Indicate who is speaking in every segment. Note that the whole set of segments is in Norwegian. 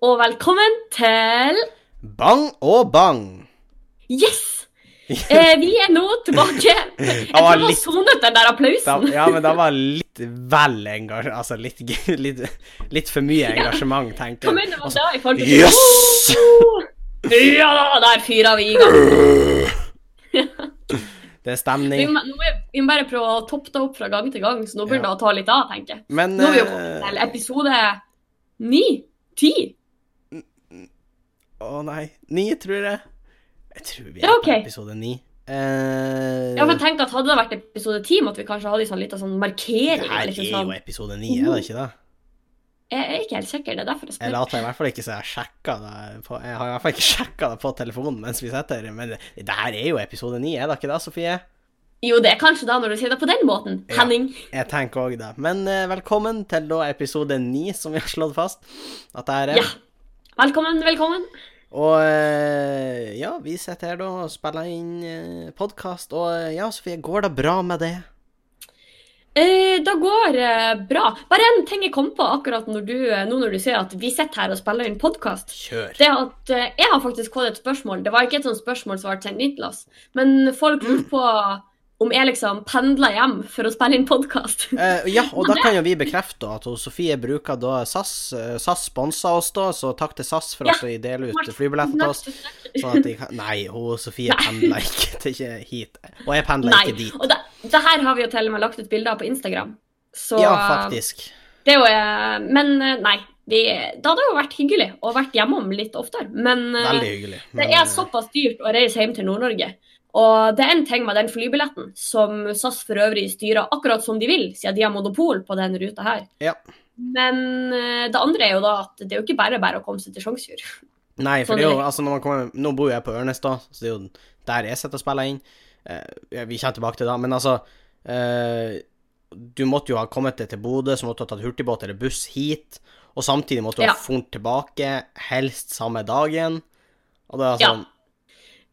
Speaker 1: og velkommen til
Speaker 2: Bang og bang.
Speaker 1: Yes! Eh, vi er nå tilbake. Jeg
Speaker 2: var
Speaker 1: tror jeg
Speaker 2: litt-
Speaker 1: sonet den der
Speaker 2: Da,
Speaker 1: applausen.
Speaker 2: ja, men det var litt vel engasjement Altså litt, g- litt, litt for mye engasjement, tenker
Speaker 1: Kom inn
Speaker 2: jeg. Altså,
Speaker 1: det var da i forhold til
Speaker 2: Yes!
Speaker 1: Ja da, der fyrer vi i gang.
Speaker 2: Det
Speaker 1: Vi
Speaker 2: er stemning.
Speaker 1: må, nå er, vi må bare prøve å toppe det opp fra gang til gang, så nå begynner det å ta litt av, tenker jeg.
Speaker 2: Men
Speaker 1: Nå er vi jo kommet til
Speaker 2: eh,
Speaker 1: episode ni. Ti.
Speaker 2: eh, Å nei. Ni, tror jeg. Jeg tror vi er
Speaker 1: Ja, ok.
Speaker 2: på episode ni. Eh,
Speaker 1: Ja, for jeg tenkte at Hadde det vært episode ti, måtte vi kanskje hatt en sånn, liten sånn markering.
Speaker 2: det her
Speaker 1: liksom,
Speaker 2: er
Speaker 1: sånn.
Speaker 2: jo episode ni, er det ikke det?
Speaker 1: Jeg er ikke helt sikker. Det er derfor jeg
Speaker 2: Jeg
Speaker 1: spør.
Speaker 2: later i hvert fall ikke så jeg sjekka det på Jeg har i hvert fall ikke sjekka det på telefonen mens vi sitter her, men det, det her er jo episode ni, er det ikke det, Sofie?
Speaker 1: Jo, det er kanskje da når du sier det på den måten.
Speaker 2: Ja.
Speaker 1: Henning.
Speaker 2: Jeg tenker òg det. Men eh, velkommen til da episode ni, som vi har slått fast at det her er.
Speaker 1: Ja. Velkommen, velkommen.
Speaker 2: Og eh, ja, vi sitter her da og spiller inn podkast, og eh, ja, Sofie, går det bra med det?
Speaker 1: Eh, det går eh, bra. Bare en ting jeg kom på akkurat når du, eh, nå når du sier at vi sitter her og spiller inn podkast.
Speaker 2: Kjør.
Speaker 1: Det er at eh, Jeg har faktisk fått et spørsmål. Det var ikke et sånt spørsmål som ble sendt inn til oss. Men folk lurer
Speaker 2: Mm.
Speaker 1: på om jeg liksom pendler hjem for å spille inn podkast.
Speaker 2: Eh, ja, og da kan jo vi bekrefte at hun Sofie bruker da SAS. eh, SAS sponser oss da, så takk til SAS for at de deler ut flybilletter til oss. Sånn at de kan Nei, hun Sofie pendler ikke, til ikke hit. Og jeg pendler
Speaker 1: Nei.
Speaker 2: ikke dit.
Speaker 1: Og det, det her har vi jo til og med lagt ut bilder av på Instagram. Så
Speaker 2: Ja, faktisk.
Speaker 1: Det er jo, eh, men eh, nei. Vi, det hadde jo vært hyggelig å vært hjemom litt oftere. Men eh,
Speaker 2: Veldig hyggelig.
Speaker 1: det
Speaker 2: men, eh,
Speaker 1: er såpass dyrt å reise hjem til Nord-Norge. Og det er en ting med den flybilletten, som SAS for øvrig styrer akkurat som de vil, siden de har monopol på den ruta her.
Speaker 2: Ja.
Speaker 1: Men eh, det andre er jo da at det er jo ikke bare bare å komme seg til Sjongsfjord.
Speaker 2: Nei, for
Speaker 1: Sånn
Speaker 2: det er jo,
Speaker 1: direkte.
Speaker 2: altså når man kommer, nå bor jo jeg på Ørnes, da, så det er jo der jeg sitter og spiller inn. Eh, ja, vi kommer tilbake til det, men altså eh, Du måtte jo ha kommet deg til Bodø, så måtte du ha tatt hurtigbåt eller buss hit. Og samtidig måtte du
Speaker 1: Ja.
Speaker 2: ha fort tilbake, helst samme dagen. Og det er
Speaker 1: Ja.
Speaker 2: sånn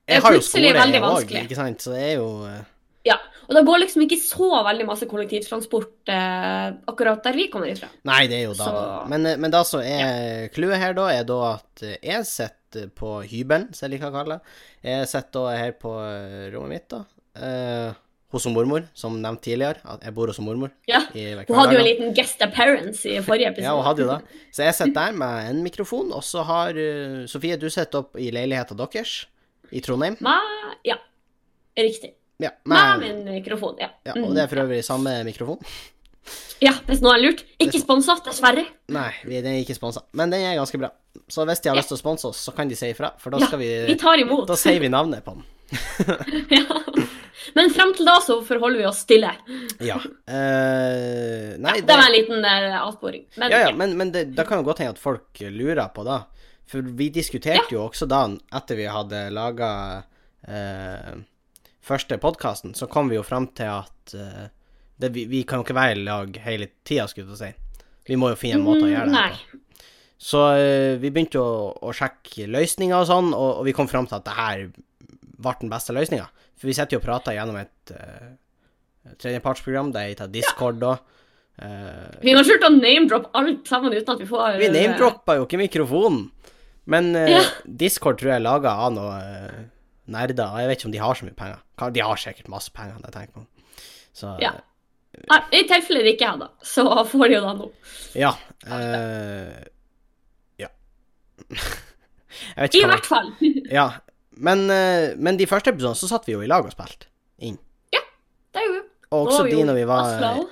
Speaker 1: Det er
Speaker 2: Jeg har jo
Speaker 1: plutselig
Speaker 2: skole,
Speaker 1: veldig
Speaker 2: jeg òg,
Speaker 1: vanskelig.
Speaker 2: ikke sant, så det er jo eh,
Speaker 1: Ja. Og det går liksom ikke så veldig masse kollektivtransport eh, akkurat der vi kommer ifra.
Speaker 2: Nei, det er jo da.
Speaker 1: Så-
Speaker 2: Men, eh, men det som er clouet her, da, er da at jeg sitter på hybelen, som jeg liker å kalle det. Jeg sitter da her på eh, rommet mitt, da. eh, hos hun mormor, som nevnt tidligere. At jeg bor hos hun mormor.
Speaker 1: Ja.
Speaker 2: i hver-
Speaker 1: Hun hadde jo en
Speaker 2: hverdagen.
Speaker 1: liten guest appearance i forrige episode.
Speaker 2: Ja, hun hadde jo det. Så jeg sitter der med en mikrofon, og så har eh, Sofie, du sitter opp i leiligheta deres i Trondheim.
Speaker 1: Ma- ja. Riktig.
Speaker 2: Ja,
Speaker 1: Med
Speaker 2: men,
Speaker 1: min mikrofon, ja.
Speaker 2: ja,
Speaker 1: Mm.
Speaker 2: og det er for øvrig samme mikrofon.
Speaker 1: ja hvis noen har lurt. Ikke sponsa, dessverre.
Speaker 2: Nei, vi- den er ikke sponsa, men den er ganske bra. Så hvis de har lyst til å sponse oss, så kan de si ifra, for da
Speaker 1: Ja,
Speaker 2: skal
Speaker 1: Vi tar imot.
Speaker 2: Da sier vi navnet på den.
Speaker 1: Ja. Men frem til da så forholder vi oss stille.
Speaker 2: Ja. Eh, nei,
Speaker 1: Det var en
Speaker 2: det,
Speaker 1: liten eh, avsporing. Men
Speaker 2: ja, ja,
Speaker 1: ja.
Speaker 2: men, men det, det kan jo godt hende at folk lurer på det. For vi diskuterte jo også da, etter vi hadde laga første podkasten, så kom vi jo fram til at eh, det, vi, vi kan jo ikke være i lag hele tida, skulle jeg til å si. Vi må jo finne en måte å gjøre det her
Speaker 1: Nei.
Speaker 2: på. Så eh, vi begynte å, å sjekke løsninger og sånn, og, og vi kom fram til at det her ble den beste løsninga. For vi sitter jo og prater gjennom et eh, tredjepartsprogram, det heter Discord da. Eh,
Speaker 1: Vi har skjult å name-droppe alt sammen uten at vi får
Speaker 2: vi name-droppa jo ikke mikrofonen, men
Speaker 1: Eh.
Speaker 2: eh,
Speaker 1: Ja.
Speaker 2: Discord tror jeg er laga av noe eh, nerder. Jeg vet ikke om de har så mye penger. Ka- De har sikkert masse penger, det tenker jeg på. Så
Speaker 1: eh, Ja. Nei, I tilfelle det ikke er da, så får de jo da nå.
Speaker 2: Ja. eh, ja. jeg vet
Speaker 1: I
Speaker 2: ikke hva man-
Speaker 1: hvert fall.
Speaker 2: Ja, men, eh, men de første episodene så satt vi jo i lag og spilte inn.
Speaker 1: Det er jo
Speaker 2: Og også
Speaker 1: Å, jo.
Speaker 2: de når vi var eh,
Speaker 1: Aslo.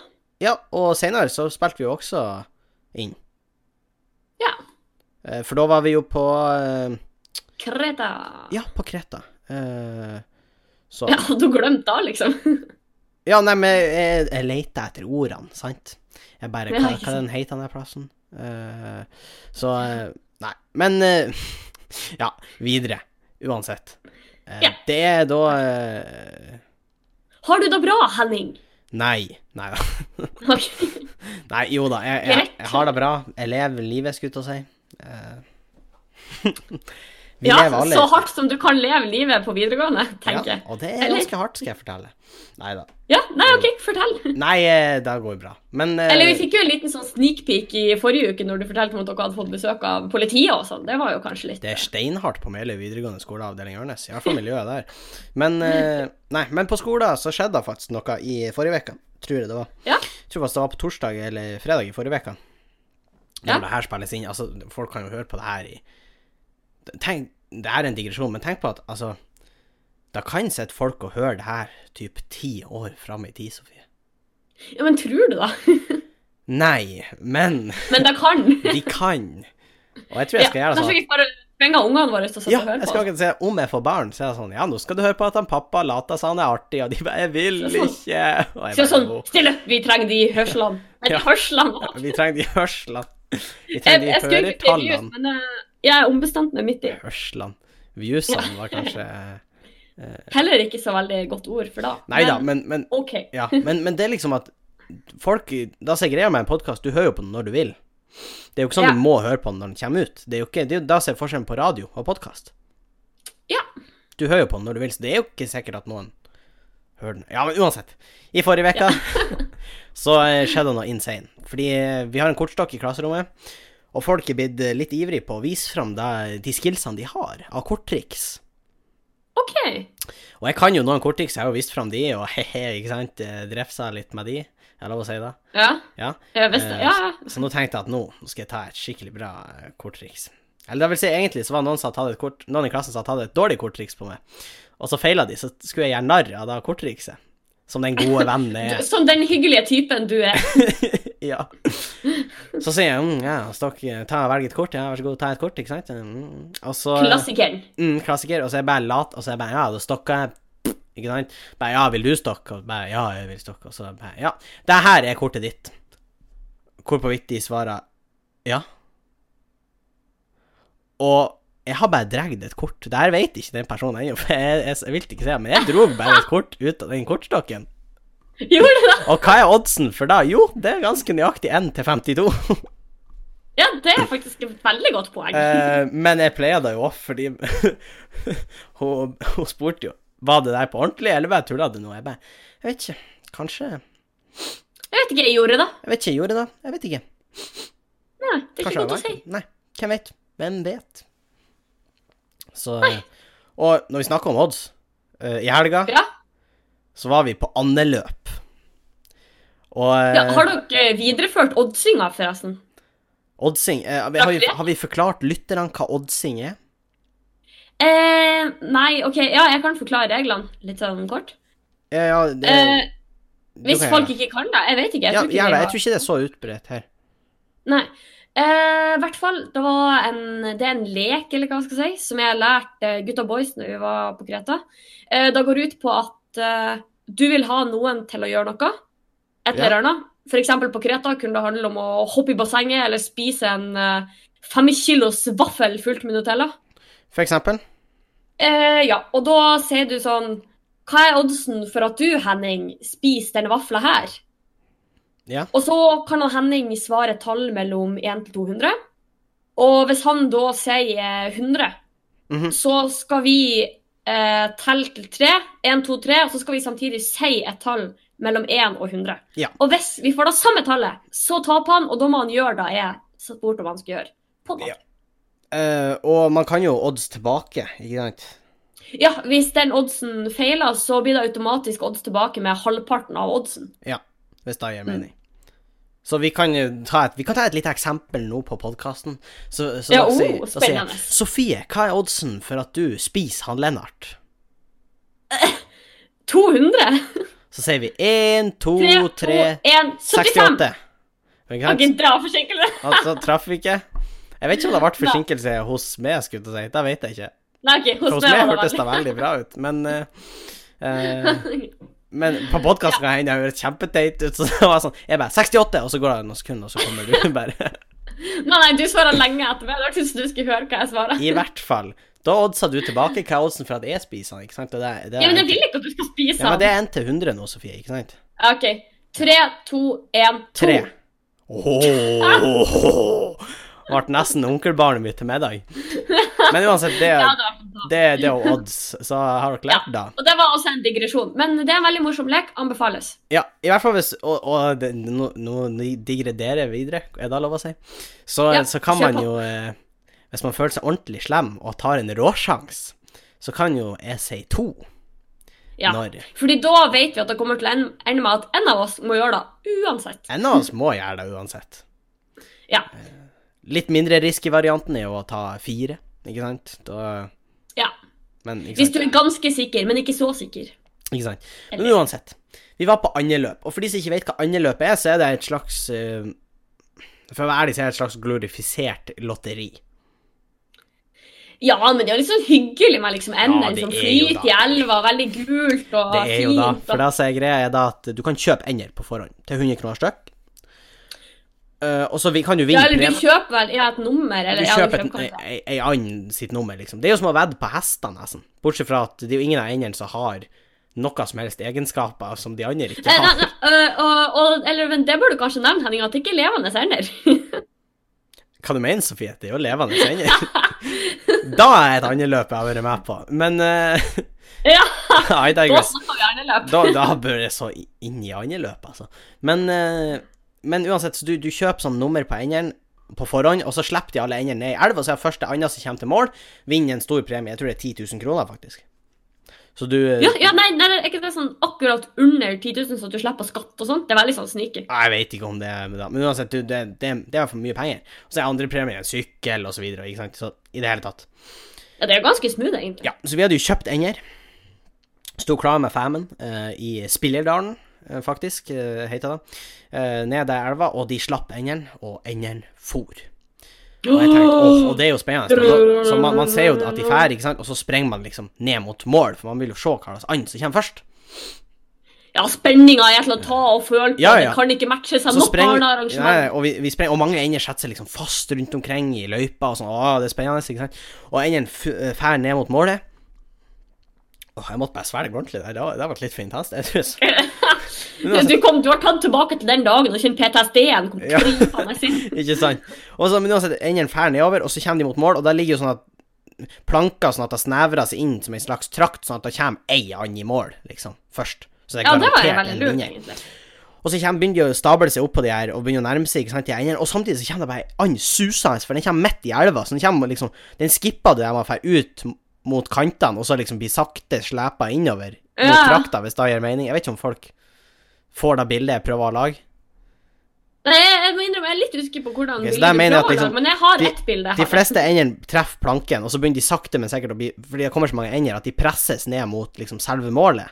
Speaker 2: Ja, og senere så spilte vi jo også inn.
Speaker 1: Ja.
Speaker 2: Eh, For da var vi jo på eh,
Speaker 1: Kreta.
Speaker 2: Ja, på Kreta. Eh, Så
Speaker 1: Ja, du glemte da, liksom.
Speaker 2: Ja, nei, men jeg, jeg leter etter ordene, sant? Jeg bare
Speaker 1: Ja,
Speaker 2: Hva,
Speaker 1: ikke
Speaker 2: hva den heter den der plassen? Eh, så eh, Nei. Men eh, Ja, videre. Uansett. Eh,
Speaker 1: Ja.
Speaker 2: Det er da eh,
Speaker 1: Har du det bra, Henning?
Speaker 2: Nei. Nei da.
Speaker 1: Ok.
Speaker 2: Nei, jo da, jeg, jeg,
Speaker 1: Greit.
Speaker 2: jeg har det bra. Jeg lever livet, skulle jeg til å si. Eh, Vi
Speaker 1: ja,
Speaker 2: lever alle
Speaker 1: så
Speaker 2: i-
Speaker 1: hardt som du kan leve livet på videregående, tenker jeg.
Speaker 2: Ja, og det er
Speaker 1: Eller?
Speaker 2: ganske hardt, skal jeg fortelle. Nei da.
Speaker 1: Ja, nei, OK, fortell.
Speaker 2: Nei, eh, det går bra. Men eh,
Speaker 1: Eller vi fikk jo en liten sånn sneak peek i forrige uke når du fortalte om at dere hadde fått besøk av politiet og sånn. Det var jo kanskje litt
Speaker 2: det er steinhardt på Meløy videregående skole, avdeling Ørnes. I hvert fall miljøet der. Men, eh, nei, men på skolen så skjedde det faktisk noe i forrige uke, tror jeg det var.
Speaker 1: Ja.
Speaker 2: Jeg tror faktisk det var på torsdag eller fredag i forrige uke. Når
Speaker 1: Ja.
Speaker 2: det her spilles inn. Altså, folk kan jo høre på det her i Tenk, Det er en digresjon, men tenk på at altså Da kan sitte folk og høre det her typ ti år fram i tid, Sofie.
Speaker 1: Ja, men tror du da?
Speaker 2: Nei, men
Speaker 1: Men det kan.
Speaker 2: de kan. Og jeg tror jeg
Speaker 1: Ja,
Speaker 2: skal gjøre det
Speaker 1: kanskje
Speaker 2: sånn.
Speaker 1: vi bare tvinger ungene våre til å sitte
Speaker 2: Ja,
Speaker 1: og høre
Speaker 2: jeg
Speaker 1: på.
Speaker 2: skal ikke si om jeg får barn, så er det sånn Ja, nå skal du høre på at han pappa later som han er artig, og de bare Jeg vil
Speaker 1: Så sånn-
Speaker 2: ikke. Og jeg
Speaker 1: Så
Speaker 2: bare,
Speaker 1: sånn,
Speaker 2: «Åh,
Speaker 1: Still opp, vi trenger de hørslene. Nei,
Speaker 2: Ja.
Speaker 1: de hørslene.
Speaker 2: Vi trenger de hørslene. Vi
Speaker 1: Jeg,
Speaker 2: trenger de
Speaker 1: jeg skulle ikke si views,
Speaker 2: høretallene.
Speaker 1: men eh, jeg er ombestemt meg midt i.
Speaker 2: Hørslene. Viewsene var kanskje
Speaker 1: Heller ikke så veldig godt ord for da.
Speaker 2: Nei da, men, men
Speaker 1: OK.
Speaker 2: Ja, men, men det er liksom at folk Da sier greia med en podkast, du hører jo på den når du vil. Det er jo ikke sånn
Speaker 1: Ja.
Speaker 2: du må høre på den når den kommer ut. Det er jo ikke, det er jo Da ser jeg forskjellen på radio og podkast.
Speaker 1: Ja.
Speaker 2: Du hører jo på den når du vil, så det er jo ikke sikkert at noen hører den. Ja, men uansett. I forrige uke så eh, skjedde noe insane. Fordi eh, vi har en kortstokk i klasserommet, og folk er blitt eh, litt ivrige på å vise fram det- de skillsene de har av korttriks.
Speaker 1: OK.
Speaker 2: Og jeg kan jo noen korttriks, jeg har jo vist fram de, og he-he, ikke sant, eh, drefsa litt med de. Er det lov å si det?
Speaker 1: Ja.
Speaker 2: Ja.
Speaker 1: Jeg visste
Speaker 2: Eh,
Speaker 1: Ja, ja.
Speaker 2: Så nå tenkte jeg at nå skal jeg ta et skikkelig bra eh, korttriks. Eller det vil si, egentlig så var det noen som hadde tatt et kort, noen i klassen som hadde tatt et dårlig korttriks på meg, og så feila de, så skulle jeg gjøre narr av det korttrikset. Som den gode vennen jeg
Speaker 1: Du,
Speaker 2: er.
Speaker 1: som den hyggelige typen du er.
Speaker 2: ja. Så sier jeg mm, ja, stokk, ta, velg et kort, ja, vær så god, ta et kort, ikke sant? Mm, og så
Speaker 1: Klassikeren.
Speaker 2: mm, klassiker, og så er jeg bare lat, og så er jeg bare, ja, da stokker jeg, ikke sant? Bare, ja, vil du stokke? Og bare, ja, jeg vil stokke, og så bare, ja. Det her er kortet ditt. Hvorpå vidt de svarer, ja. Og jeg har bare dregt et kort. Det her vet ikke den personen ennå, for jeg, jeg, jeg vil ikke se, men jeg drog bare et kort ut av den kortstokken.
Speaker 1: Gjorde du det?
Speaker 2: Og hva er oddsen for da? Jo, det er ganske nøyaktig 1 til 52.
Speaker 1: Ja, det er faktisk et veldig godt poeng.
Speaker 2: Eh, men jeg pleier det jo òg, fordi hun, hun spurte jo Var det der på ordentlig, eller bare tulla du nå? Jeg bare Jeg vet ikke. Kanskje Jeg
Speaker 1: Jeg vet ikke, jeg gjorde det.
Speaker 2: vet ikke. Gjorde jeg det? Jeg vet ikke.
Speaker 1: Nei, det er
Speaker 2: Kanskje
Speaker 1: ikke godt å
Speaker 2: jeg
Speaker 1: si.
Speaker 2: var- Nei. Hvem vet? Hvem vet? Så Og når vi snakker om odds eh, I helga
Speaker 1: Ja.
Speaker 2: så var vi på andeløp. Og eh,
Speaker 1: Ja, har dere videreført oddsinga, forresten?
Speaker 2: oddsing eh, har, vi,
Speaker 1: Dere?
Speaker 2: har vi forklart lytterne hva oddsing er?
Speaker 1: Eh, nei, OK. Ja, jeg kan forklare reglene litt sånn kort.
Speaker 2: Eh, ja, det,
Speaker 1: Eh,
Speaker 2: du
Speaker 1: hvis
Speaker 2: kan
Speaker 1: folk
Speaker 2: gjøre det.
Speaker 1: ikke kan det. Jeg vet ikke. Jeg
Speaker 2: Ja,
Speaker 1: tror ikke, vi
Speaker 2: gjør det. Jeg
Speaker 1: har-
Speaker 2: tror ikke det er så utbredt her.
Speaker 1: Nei. Eh, I hvert fall, det, var en, det er en lek eller hva man skal si, som jeg lærte eh, gutta boys når vi var på Kreta. Eh, det går ut på at eh, du vil ha noen til å gjøre noe. Et eller annet. For eksempel på Kreta kunne det handle om å hoppe i bassenget eller spise en eh, fem kilos vaffel fullt med Nutella.
Speaker 2: For eksempel?
Speaker 1: Eh, ja, og da sier du sånn Hva er oddsen for at du, Henning, spiser denne vafla her?
Speaker 2: Ja.
Speaker 1: Og så kan han Henning svare et tall mellom 1 til 200. Og hvis han da sier 100,
Speaker 2: Mhm.
Speaker 1: så skal vi eh, telle til 3. 1, 2, 3. Og så skal vi samtidig si et tall mellom 1 og 100.
Speaker 2: Ja.
Speaker 1: Og hvis vi får det samme tallet, så taper han, og da må han gjøre det jeg spurte om han skal gjøre. På det.
Speaker 2: Ja. Eh, og man kan jo odds tilbake, ikke sant?
Speaker 1: Ja, hvis den oddsen feiler, så blir det automatisk odds tilbake med halvparten av oddsen.
Speaker 2: Hvis det
Speaker 1: Mm.
Speaker 2: gir mening. Så vi kan jo ta et, vi kan ta et lite eksempel nå på podkasten. Så, så,
Speaker 1: Ja, oh,
Speaker 2: da sier- da sier jeg,
Speaker 1: spennende.
Speaker 2: Sofie, hva er oddsen for at du spiser han Lennart?
Speaker 1: 200?
Speaker 2: Så sier vi 1, 2,
Speaker 1: 3, 2,
Speaker 2: 3,
Speaker 1: 1, 75!
Speaker 2: 68. Ikke
Speaker 1: Ok,
Speaker 2: sant?
Speaker 1: dra forsinkelse.
Speaker 2: Og så traff vi ikke. Jeg vet ikke om det ble forsinkelse hos meg, skulle jeg til å si. Det vet jeg ikke.
Speaker 1: Nei, ok, hos
Speaker 2: Hos
Speaker 1: meg
Speaker 2: meg
Speaker 1: var
Speaker 2: hørtes
Speaker 1: det
Speaker 2: det veldig bra ut, men eh, eh,
Speaker 1: veldig.
Speaker 2: Men på podkasten kan hende jeg høres kjempeteit ut, så det var sånn Jeg bare 68, og så går det noen sekunder, og så kommer du bare
Speaker 1: Nei, nei, du svarer lenge etter meg. Det hørtes ut som du skulle høre hva jeg svarer.
Speaker 2: I hvert fall. Da oddsa du tilbake hva er oddsen for at jeg spiser den, ikke sant? Og det, det,
Speaker 1: Ja, men jeg vil ikke at du skal spise
Speaker 2: ja, men det
Speaker 1: den.
Speaker 2: er 1 til 100 nå, Sofie, ikke sant?
Speaker 1: Ok, 3, 2, 1, 2.
Speaker 2: 3. Ååå. Ble nesten onkelbarnet mitt til middag. Men uansett, det,
Speaker 1: Ja, det var fantastisk.
Speaker 2: det, det er jo odds, så har dere lært, da.
Speaker 1: Og det var også en digresjon. Men det er en veldig morsom lek. Anbefales.
Speaker 2: Ja, i hvert fall hvis Og, og det, nå, nå digrederer videre, er det lov å si? Så,
Speaker 1: Ja,
Speaker 2: så kan
Speaker 1: kjør
Speaker 2: man
Speaker 1: på.
Speaker 2: jo eh, Hvis man føler seg ordentlig slem og tar en råsjans, så kan jo jeg si to
Speaker 1: Ja.
Speaker 2: når
Speaker 1: Fordi da vet vi at det kommer til å en- ende med at en av oss må gjøre det uansett.
Speaker 2: En av oss må gjøre det uansett.
Speaker 1: Ja.
Speaker 2: Eh, Litt mindre risky varianten er jo å ta fire, ikke sant? Da,
Speaker 1: Ja.
Speaker 2: men ikke
Speaker 1: Hvis
Speaker 2: sant?
Speaker 1: du er ganske sikker, men ikke så sikker.
Speaker 2: Ikke sant? Men
Speaker 1: Eller-
Speaker 2: uansett. Vi var på andeløp, og for de som ikke vet hva andeløp er, så er det et slags eh, For å være ærlig så er det et slags glorifisert lotteri.
Speaker 1: Ja, men det er jo litt sånn hyggelig med liksom enden
Speaker 2: Ja, det
Speaker 1: som
Speaker 2: er jo
Speaker 1: flyter
Speaker 2: da.
Speaker 1: i elva, veldig gult og
Speaker 2: Det er
Speaker 1: Ah, fint.
Speaker 2: jo da,
Speaker 1: og-
Speaker 2: for da sier greia er da at du kan kjøpe ender på forhånd til 100 kroner stykk. Eh, og så vi, kan du vinne
Speaker 1: ja, eller du
Speaker 2: premie.
Speaker 1: kjøper vel ja, et nummer, eller
Speaker 2: Du
Speaker 1: ja,
Speaker 2: kjøper et-
Speaker 1: kanskje.
Speaker 2: ei ei and sitt nummer, liksom. Det er jo som å vedde på hester, nesten. Bortsett fra at det er jo ingen av endene som har noe som helst egenskaper som de andre ikke
Speaker 1: Eh, Nei,
Speaker 2: har.
Speaker 1: nei, øh, og, og, eller, men det bør du kanskje nevne, Henning, at det ikke er levende ender.
Speaker 2: Hva du mener Sofie? Det er jo levende ender. da er et annet løp jeg har vært med på. Men eh,
Speaker 1: ja,
Speaker 2: I
Speaker 1: da
Speaker 2: digress.
Speaker 1: snakker vi gjerne løp.
Speaker 2: da, da bør jeg så i- inn i andre løp, altså. Men, eh, men uansett, så du, du kjøper sånn nummer på endene på forhånd, og så slipper de alle endene ned i elva, så er det første andre som kommer til mål, vinner en stor premie. Jeg tror det er 10 000 kroner, faktisk. Så du
Speaker 1: Ja, ja nei, nei, nei, er ikke det sånn akkurat under 10 000, så at du slipper skatt og sånt? Det er veldig sånn sneaky.
Speaker 2: Nei, Jeg vet ikke om det er men da- Men uansett, du, det, det, det er for mye penger. Og så er andre premie en sykkel, og så videre, ikke sant. Så i det hele tatt.
Speaker 1: Ja, det er jo ganske smooth, egentlig.
Speaker 2: Ja, så vi hadde jo kjøpt ender. Sto klar med famen eh, i Spillerdalen, eh, faktisk, eh, heter det. Eh, ned der elva, og de slapp endene, og endene for. Og jeg tenkte, åh, og det er jo spennende. Så, så man, man ser jo at de fær, ikke sant, og så sprenger man liksom ned mot mål, for man vil jo se hva slags and som kommer først.
Speaker 1: Ja, spenninga er til å ta og føle på.
Speaker 2: Ja, ja.
Speaker 1: Det kan ikke matche seg
Speaker 2: Så
Speaker 1: nok
Speaker 2: spreng,
Speaker 1: annet
Speaker 2: ja,
Speaker 1: arrangement.
Speaker 2: og, vi, vi spreng, og mange ender setter seg liksom fast rundt omkring i løypa, og sånn, åh, det er spennende, ikke sant. Og endene f- eh, fær ned mot målet. Åh, jeg måtte bare svelge ordentlig der, det var- det har vært litt for intenst, jeg tror. jeg- Men altså-
Speaker 1: Du, kom, du har tatt tilbake til den dagen og kjent PTSD-en kom
Speaker 2: Ja.
Speaker 1: krypende inn.
Speaker 2: Ikke sant? Og så, men uansett, endene fer nedover, og så kommer de mot mål, og der ligger jo sånn at planker sånn at det snevrer seg inn som en slags trakt, sånn at det kommer ei and i mål, liksom, først. Så det
Speaker 1: Ja,
Speaker 2: er
Speaker 1: det var jo
Speaker 2: garantert
Speaker 1: veldig
Speaker 2: en
Speaker 1: lurt,
Speaker 2: vinner.
Speaker 1: egentlig.
Speaker 2: Og så kommer, begynner de å stable seg opp på de her, og begynner å nærme seg, ikke sant, de endene, og samtidig så kommer det bare ei and susende, for den kommer midt i elva, så den kommer liksom, den skipper det der man fer ut mot kantene, og så liksom blir sakte slepet innover mot
Speaker 1: Ja.
Speaker 2: trakta, hvis det gir mening. Jeg vet ikke om folk får det bildet jeg prøver å lage.
Speaker 1: Nei, jeg, jeg må innrømme, jeg er litt usikker på hvordan
Speaker 2: Ok, så
Speaker 1: bildet
Speaker 2: der mener jeg at
Speaker 1: prøver å
Speaker 2: liksom-
Speaker 1: lage, men jeg har
Speaker 2: de-
Speaker 1: ett bilde her.
Speaker 2: De fleste endene treffer planken, og så begynner de sakte, men sikkert å bli Fordi det kommer så mange ender at de presses ned mot liksom selve målet.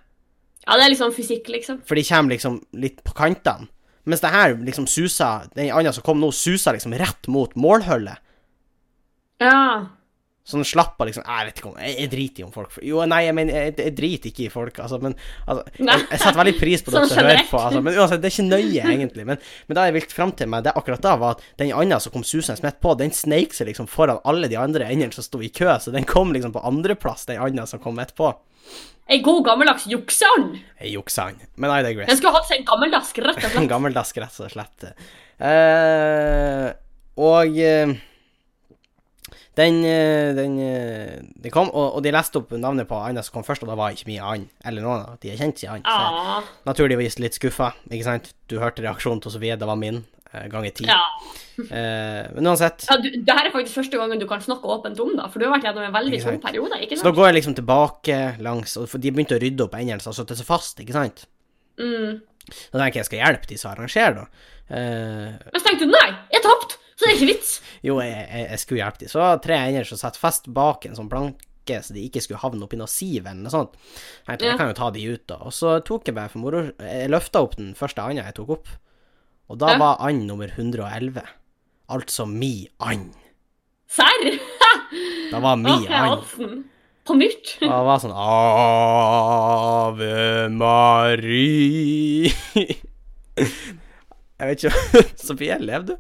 Speaker 1: Ja, det er liksom fysikk, liksom.
Speaker 2: For de kommer liksom litt på kantene. Mens det her liksom suser Den andre som kom nå, suser liksom rett mot målhullet.
Speaker 1: Ja.
Speaker 2: Så den slapp av liksom Jeg vet ikke om Jeg, jeg driter i om folk Jo, nei, jeg mener Jeg, jeg driter ikke i folk, altså, men altså,
Speaker 1: Nei.
Speaker 2: jeg, jeg setter veldig pris på dere
Speaker 1: Sånn
Speaker 2: som hører
Speaker 1: generelt.
Speaker 2: på, altså. Men uansett, det er ikke nøye, egentlig. Men, men det jeg vil fram til med det akkurat da, var at den andre som kom susende midt på, den sneik seg liksom foran alle de andre endene som sto i kø, så den kom liksom på andreplass, den andre som kom midt på.
Speaker 1: Ei god gammeldags jukseånd.
Speaker 2: Jeg juksa han. Men I digress.
Speaker 1: Den skulle hatt seg en gammeldask, rett og
Speaker 2: En
Speaker 1: slett.
Speaker 2: gammeldask, rett og slett. Eh, og eh, den, eh, den, eh, den kom, og, og de leste opp navnet på Anna som kom først, og det var ikke mye annen eller noen av de jeg kjente siden annen.
Speaker 1: Ja.
Speaker 2: Så naturligvis litt skuffa, ikke sant? Du hørte reaksjonen til Sofie, det var min, eh, ganger ti.
Speaker 1: ja.
Speaker 2: Eh, men uansett,
Speaker 1: ja du, det her er faktisk første gangen du kan snakke åpent om det, for du har vært gjennom en veldig
Speaker 2: Ikke
Speaker 1: tung
Speaker 2: sant.
Speaker 1: periode, ikke
Speaker 2: så da
Speaker 1: sant?
Speaker 2: går jeg liksom tilbake langs, og for de begynte å rydde opp endene, så har satt seg fast, ikke sant?
Speaker 1: Mm.
Speaker 2: Da tenker jeg, skal jeg hjelpe de som arrangerer, da? Eh,
Speaker 1: Men så tenkte du nei, jeg tapte, så det er ikke vits.
Speaker 2: Jo, jeg, jeg, jeg skulle hjelpe dem. Så var det tre ender som satt fast bak en sånn planke, så de ikke skulle havne oppi noe siv eller noe sånt. Jeg tenkte,
Speaker 1: Ja.
Speaker 2: jeg kan jo ta de ut, da. Og så tok jeg bare for moro Jeg løfta opp den første anda jeg tok opp, og da
Speaker 1: Ja.
Speaker 2: var and nummer 111. Altså mi and.
Speaker 1: Serr?
Speaker 2: Da var mi
Speaker 1: Ok,
Speaker 2: and.
Speaker 1: Hansen. På nytt.
Speaker 2: Og det var sånn Ave Marie Jeg vet ikke Sofie, lever du?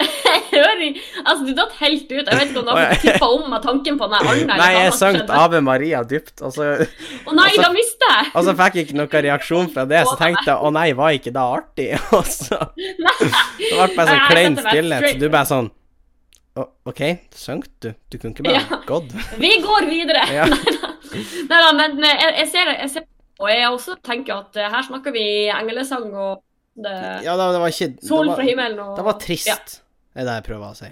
Speaker 1: Jeg hører Altså, du datt helt ut. Jeg vet ikke om du
Speaker 2: Å,
Speaker 1: har
Speaker 2: jeg-
Speaker 1: fått tippa om med tanken på den her anden. eller
Speaker 2: Nei,
Speaker 1: hva
Speaker 2: jeg
Speaker 1: som
Speaker 2: sang
Speaker 1: skjedde.
Speaker 2: Ave Maria dypt, og så
Speaker 1: Å nei,
Speaker 2: altså-
Speaker 1: da mista jeg!
Speaker 2: Og så fikk jeg ikke noen reaksjon fra det, så tenkte jeg å nei, var ikke det artig? Og så det ble bare sånn
Speaker 1: Nei,
Speaker 2: klein
Speaker 1: dette var
Speaker 2: stillhet. så Du bare sånn Å, OK, sank du? Du kunne ikke bare
Speaker 1: Ja.
Speaker 2: gått?
Speaker 1: Vi går videre!
Speaker 2: Ja.
Speaker 1: Nei da, men eh, jeg, jeg ser det. Jeg ser, det, og jeg også tenker at eh, her snakker vi englesang og det,
Speaker 2: Ja, det, det var ikke det
Speaker 1: sol
Speaker 2: var,
Speaker 1: fra himmelen og
Speaker 2: Det var trist,
Speaker 1: Ja.
Speaker 2: er det jeg prøver å si.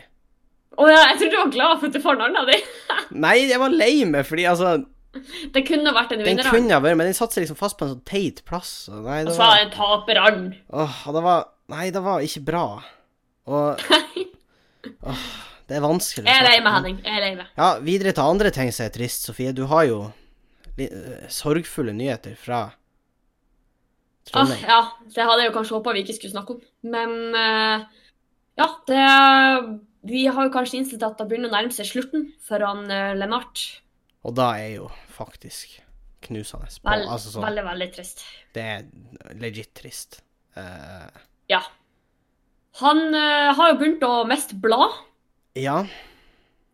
Speaker 1: Å ja, jeg trodde du var glad for at du får navnet ditt.
Speaker 2: Nei, jeg var lei meg, fordi altså
Speaker 1: Det kunne vært en
Speaker 2: Den
Speaker 1: vinner.
Speaker 2: kunne ha vært, men den satte seg liksom fast på en sånn teit plass. og Nei,
Speaker 1: Og
Speaker 2: det
Speaker 1: så var
Speaker 2: var,
Speaker 1: det en taperand.
Speaker 2: åh, og det var Nei, det var ikke bra. Og åh, Det er vanskelig. å
Speaker 1: Jeg er lei
Speaker 2: snakke
Speaker 1: meg,
Speaker 2: om.
Speaker 1: Henning. Jeg er lei meg.
Speaker 2: Ja, videre til andre ting som er trist, Sofie. Du har jo li eh, sorgfulle nyheter fra
Speaker 1: Ah,
Speaker 2: Trondheim.
Speaker 1: ja, det hadde jeg jo kanskje håpa vi ikke skulle snakke om. Men eh, ja, det Vi har jo kanskje innsett at det begynner å nærme seg slutten for han uh, Lennart.
Speaker 2: Og da er jo faktisk knusende. På,
Speaker 1: Ah. Vel,
Speaker 2: altså sånn
Speaker 1: Veldig, veldig trist.
Speaker 2: Det er legit trist. Eh,
Speaker 1: Ja. Han eh, har jo begynt å miste blad.
Speaker 2: ja.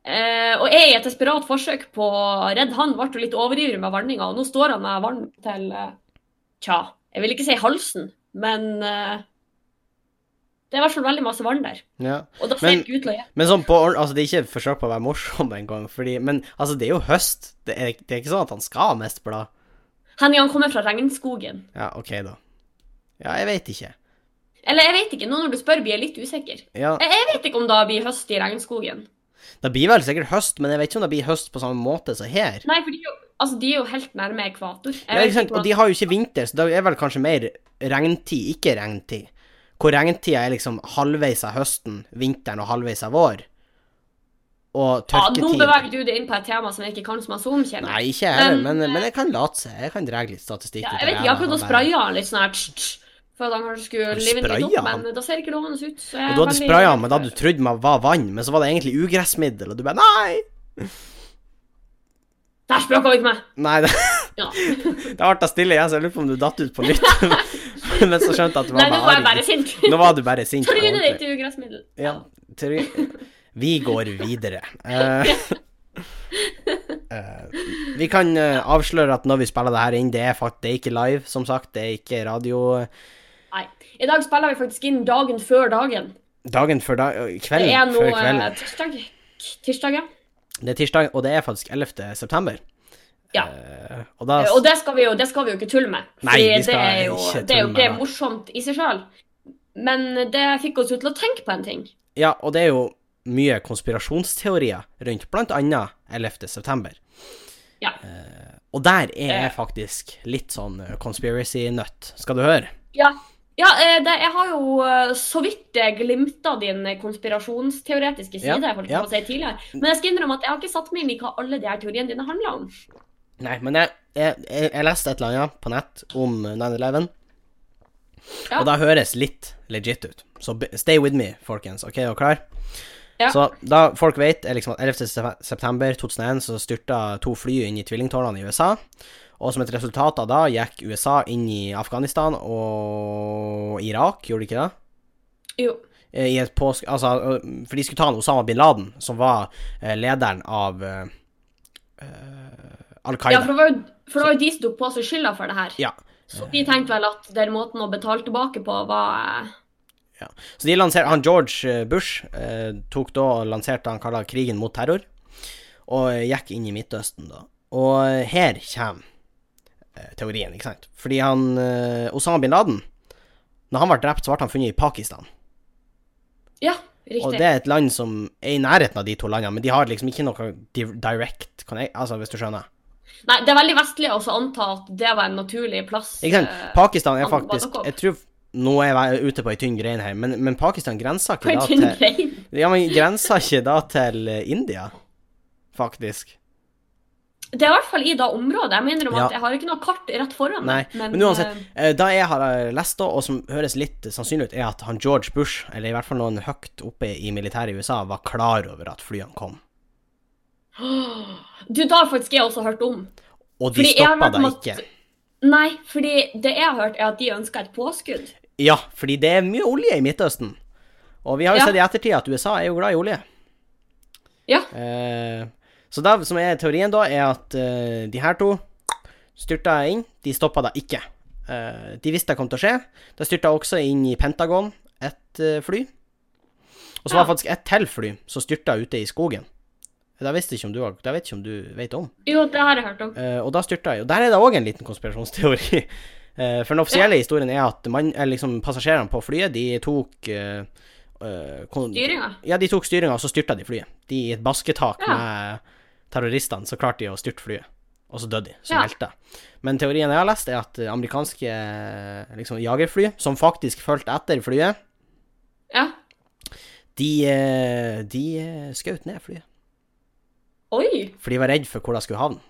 Speaker 1: Eh, og jeg i et desperat forsøk på å redde han ble jo litt overivrig med varninga, og nå står han med vann til eh, Tja, jeg vil ikke si halsen, men eh, Det er i hvert fall veldig masse vann der.
Speaker 2: ja.
Speaker 1: Og da ser
Speaker 2: Men-
Speaker 1: det ikke ut til å gjøre
Speaker 2: Men sånn på ordentlig Altså, det er ikke et forsøk på å være morsom engang, fordi Men altså, det er jo høst. Det er, det er ikke sånn at han skal miste blad.
Speaker 1: Henning han kommer fra regnskogen.
Speaker 2: Ja, OK, da. Ja, jeg veit ikke.
Speaker 1: Eller jeg vet ikke, nå når du spør blir jeg litt usikker.
Speaker 2: Ja,
Speaker 1: Jeg vet ikke om det blir høst i regnskogen.
Speaker 2: det blir vel sikkert høst, men jeg vet ikke om det blir høst på samme måte som her.
Speaker 1: Nei, for de er jo, altså, de er jo helt nærme ekvator. Jeg
Speaker 2: Ja,
Speaker 1: vet
Speaker 2: ikke sant?
Speaker 1: hvordan-
Speaker 2: Og de har jo ikke vinter, så det er vel kanskje mer regntid, ikke regntid. Hvor regntida er liksom halvveis av høsten, vinteren og halvveis av vår. Og
Speaker 1: ja, nå
Speaker 2: tørketid
Speaker 1: beveger du deg inn på et tema som jeg ikke kan som asom, kjenner
Speaker 2: Nei, ikke jeg heller,
Speaker 1: Men,
Speaker 2: men, men jeg kan late seg. Jeg kan dra litt statistikk.
Speaker 1: Ja,
Speaker 2: ut av
Speaker 1: jeg vet ikke, jeg
Speaker 2: ræva
Speaker 1: har prøvd å
Speaker 2: og bare-
Speaker 1: spraye han litt sånn her tss, tss, for at han kanskje skulle
Speaker 2: Har du
Speaker 1: live den litt
Speaker 2: sprayet
Speaker 1: opp,
Speaker 2: han?
Speaker 1: men da ser det ikke lovende ut. Så jeg
Speaker 2: Og
Speaker 1: er
Speaker 2: du hadde
Speaker 1: veldig-
Speaker 2: spraya med det du trodde man var vann, men så var det egentlig ugressmiddel, og du bare Nei!
Speaker 1: Der sprakk han ikke meg!
Speaker 2: Nei, det,
Speaker 1: Ja.
Speaker 2: det ble da stille igjen, så jeg lurer på om du datt ut på nytt. men så skjønte jeg at du
Speaker 1: Nei,
Speaker 2: var
Speaker 1: nå var jeg
Speaker 2: bare
Speaker 1: bare
Speaker 2: arg.
Speaker 1: sint.
Speaker 2: Nå var du bare sint.
Speaker 1: Trynet
Speaker 2: ordentlig.
Speaker 1: ditt i ugressmiddel.
Speaker 2: Ja. Tre. Vi går videre. Eh, eh, vi kan eh, avsløre at når vi spiller det her inn, det er, fakt det er ikke live, som sagt. Det er ikke radio
Speaker 1: Nei. I dag spiller vi faktisk inn dagen før dagen.
Speaker 2: dagen før dag...
Speaker 1: Det er
Speaker 2: Kvelden
Speaker 1: nå
Speaker 2: før
Speaker 1: eh,
Speaker 2: kvelden.
Speaker 1: tirsdag. Tirsdag, ja.
Speaker 2: Det er tirsdag, og det er faktisk 11. september.
Speaker 1: Ja.
Speaker 2: Eh, og da
Speaker 1: Og det skal vi jo, det skal vi jo ikke tulle med.
Speaker 2: Nei,
Speaker 1: fordi
Speaker 2: vi skal
Speaker 1: det er jo, det er
Speaker 2: ikke
Speaker 1: jo
Speaker 2: tulle med
Speaker 1: ikke
Speaker 2: det.
Speaker 1: morsomt i seg sjøl. Men det fikk oss jo til å tenke på en ting.
Speaker 2: Ja, og det er jo mye konspirasjonsteorier rundt blant annet 11. september.
Speaker 1: Ja.
Speaker 2: Eh, og der er jeg
Speaker 1: Eh.
Speaker 2: faktisk litt sånn eh, conspiracy-nøtt. Skal du høre?
Speaker 1: Ja, ja eh, det, jeg har jo eh, så vidt glimta din eh, konspirasjonsteoretiske side,
Speaker 2: Ja,
Speaker 1: holdt jeg
Speaker 2: ja.
Speaker 1: på å si tidligere. Men jeg skal innrømme at jeg har ikke satt meg inn i hva alle de her teoriene dine handler om.
Speaker 2: Nei, men jeg, jeg, jeg, jeg leste et eller annet på nett om 9-11,
Speaker 1: Ja.
Speaker 2: og det høres litt legit ut. Så be- stay with me, folkens. OK, er dere klar?
Speaker 1: Ja.
Speaker 2: Så da folk vet, er liksom at 11. sep- september 2001 så styrta to fly inn i tvillingtårnene i USA, og som et resultat av da gikk USA inn i Afghanistan og Irak, gjorde de ikke det?
Speaker 1: Jo.
Speaker 2: Eh, i et påsk... Altså, øh, for de skulle ta han Osama bin Laden, som var eh, lederen av eh, eh, Al
Speaker 1: Ja,
Speaker 2: Qaida.
Speaker 1: for det var jo for det var jo de som tok på seg skylda for det her.
Speaker 2: Ja.
Speaker 1: Så de tenkte vel at den måten å betale tilbake på var eh,
Speaker 2: Så de lanserte, han George eh, Bush eh, tok da og lanserte han kalla krigen mot terror, og eh, gikk inn i Midtøsten da. Og eh, her kommer eh, teorien, ikke sant? Fordi han, eh, Osama bin Laden, når han ble drept, så ble han funnet i Pakistan.
Speaker 1: Ja,
Speaker 2: Og
Speaker 1: riktig.
Speaker 2: det er et land som er i nærheten av de to landene, men de har liksom ikke noe di- direct connect, altså hvis du skjønner.
Speaker 1: Nei, det er veldig vestlig også å anta at det var en naturlig plass.
Speaker 2: Ikke sant?
Speaker 1: eh,
Speaker 2: Pakistan er
Speaker 1: han var
Speaker 2: faktisk
Speaker 1: nok opp.
Speaker 2: Jeg tror Nå er jeg ute på ei tynn grein her, men, men Pakistan grenser
Speaker 1: på
Speaker 2: ikke
Speaker 1: en
Speaker 2: da
Speaker 1: tynn
Speaker 2: til
Speaker 1: grein.
Speaker 2: Ja, men grenser ikke da til eh, India, faktisk.
Speaker 1: Det er i hvert fall i det området. Jeg mener om
Speaker 2: Ja.
Speaker 1: at jeg har ikke noe kart rett foran
Speaker 2: Nei,
Speaker 1: meg.
Speaker 2: men uansett, eh, det jeg har eh, lest, da, og som høres litt sannsynlig ut, er at han George Bush, eller i hvert fall noen høyt oppe i militæret i USA, var klar over at flyene kom.
Speaker 1: Du, det har faktisk jeg også hørt om.
Speaker 2: Og de
Speaker 1: Fordi jeg har
Speaker 2: stoppa
Speaker 1: hørt
Speaker 2: da
Speaker 1: om at-
Speaker 2: ikke.
Speaker 1: Nei, fordi det jeg har hørt, er at de ønsker et påskudd.
Speaker 2: Ja, fordi det er mye olje i Midtøsten. Og vi har jo
Speaker 1: Ja.
Speaker 2: sett i ettertid at USA er jo glad i olje.
Speaker 1: Ja.
Speaker 2: Eh, så det som er teorien da, er at eh, de her to styrta inn. De stoppa da ikke. Eh, de visste det kom til å skje. De styrta også inn i Pentagon, et eh, fly. Og så
Speaker 1: Ja.
Speaker 2: var det faktisk ett til fly som styrta ute i skogen. Det visste jeg ikke om du, har- det vet jeg ikke om du vet om.
Speaker 1: Jo, det har jeg hørt om.
Speaker 2: Eh, og da styrta jeg. Og der er det òg en liten konspirasjonsteori. Eh, for den offisielle historien er at man, eller liksom, passasjerene på flyet, de tok eh, eh, kon-
Speaker 1: Styringa.
Speaker 2: Ja, de tok styringa, og så styrta de flyet. De i et basketak
Speaker 1: Ja.
Speaker 2: med terroristene, så klarte de å styrte flyet. Og så døde de, som
Speaker 1: Ja.
Speaker 2: helter. Men teorien jeg har lest, er at amerikanske eh, liksom, jagerfly, som faktisk fulgte etter flyet,
Speaker 1: Ja.
Speaker 2: de, eh, de eh, skjøt ned flyet.
Speaker 1: Oi!
Speaker 2: For de var redd for hvor de skulle havne.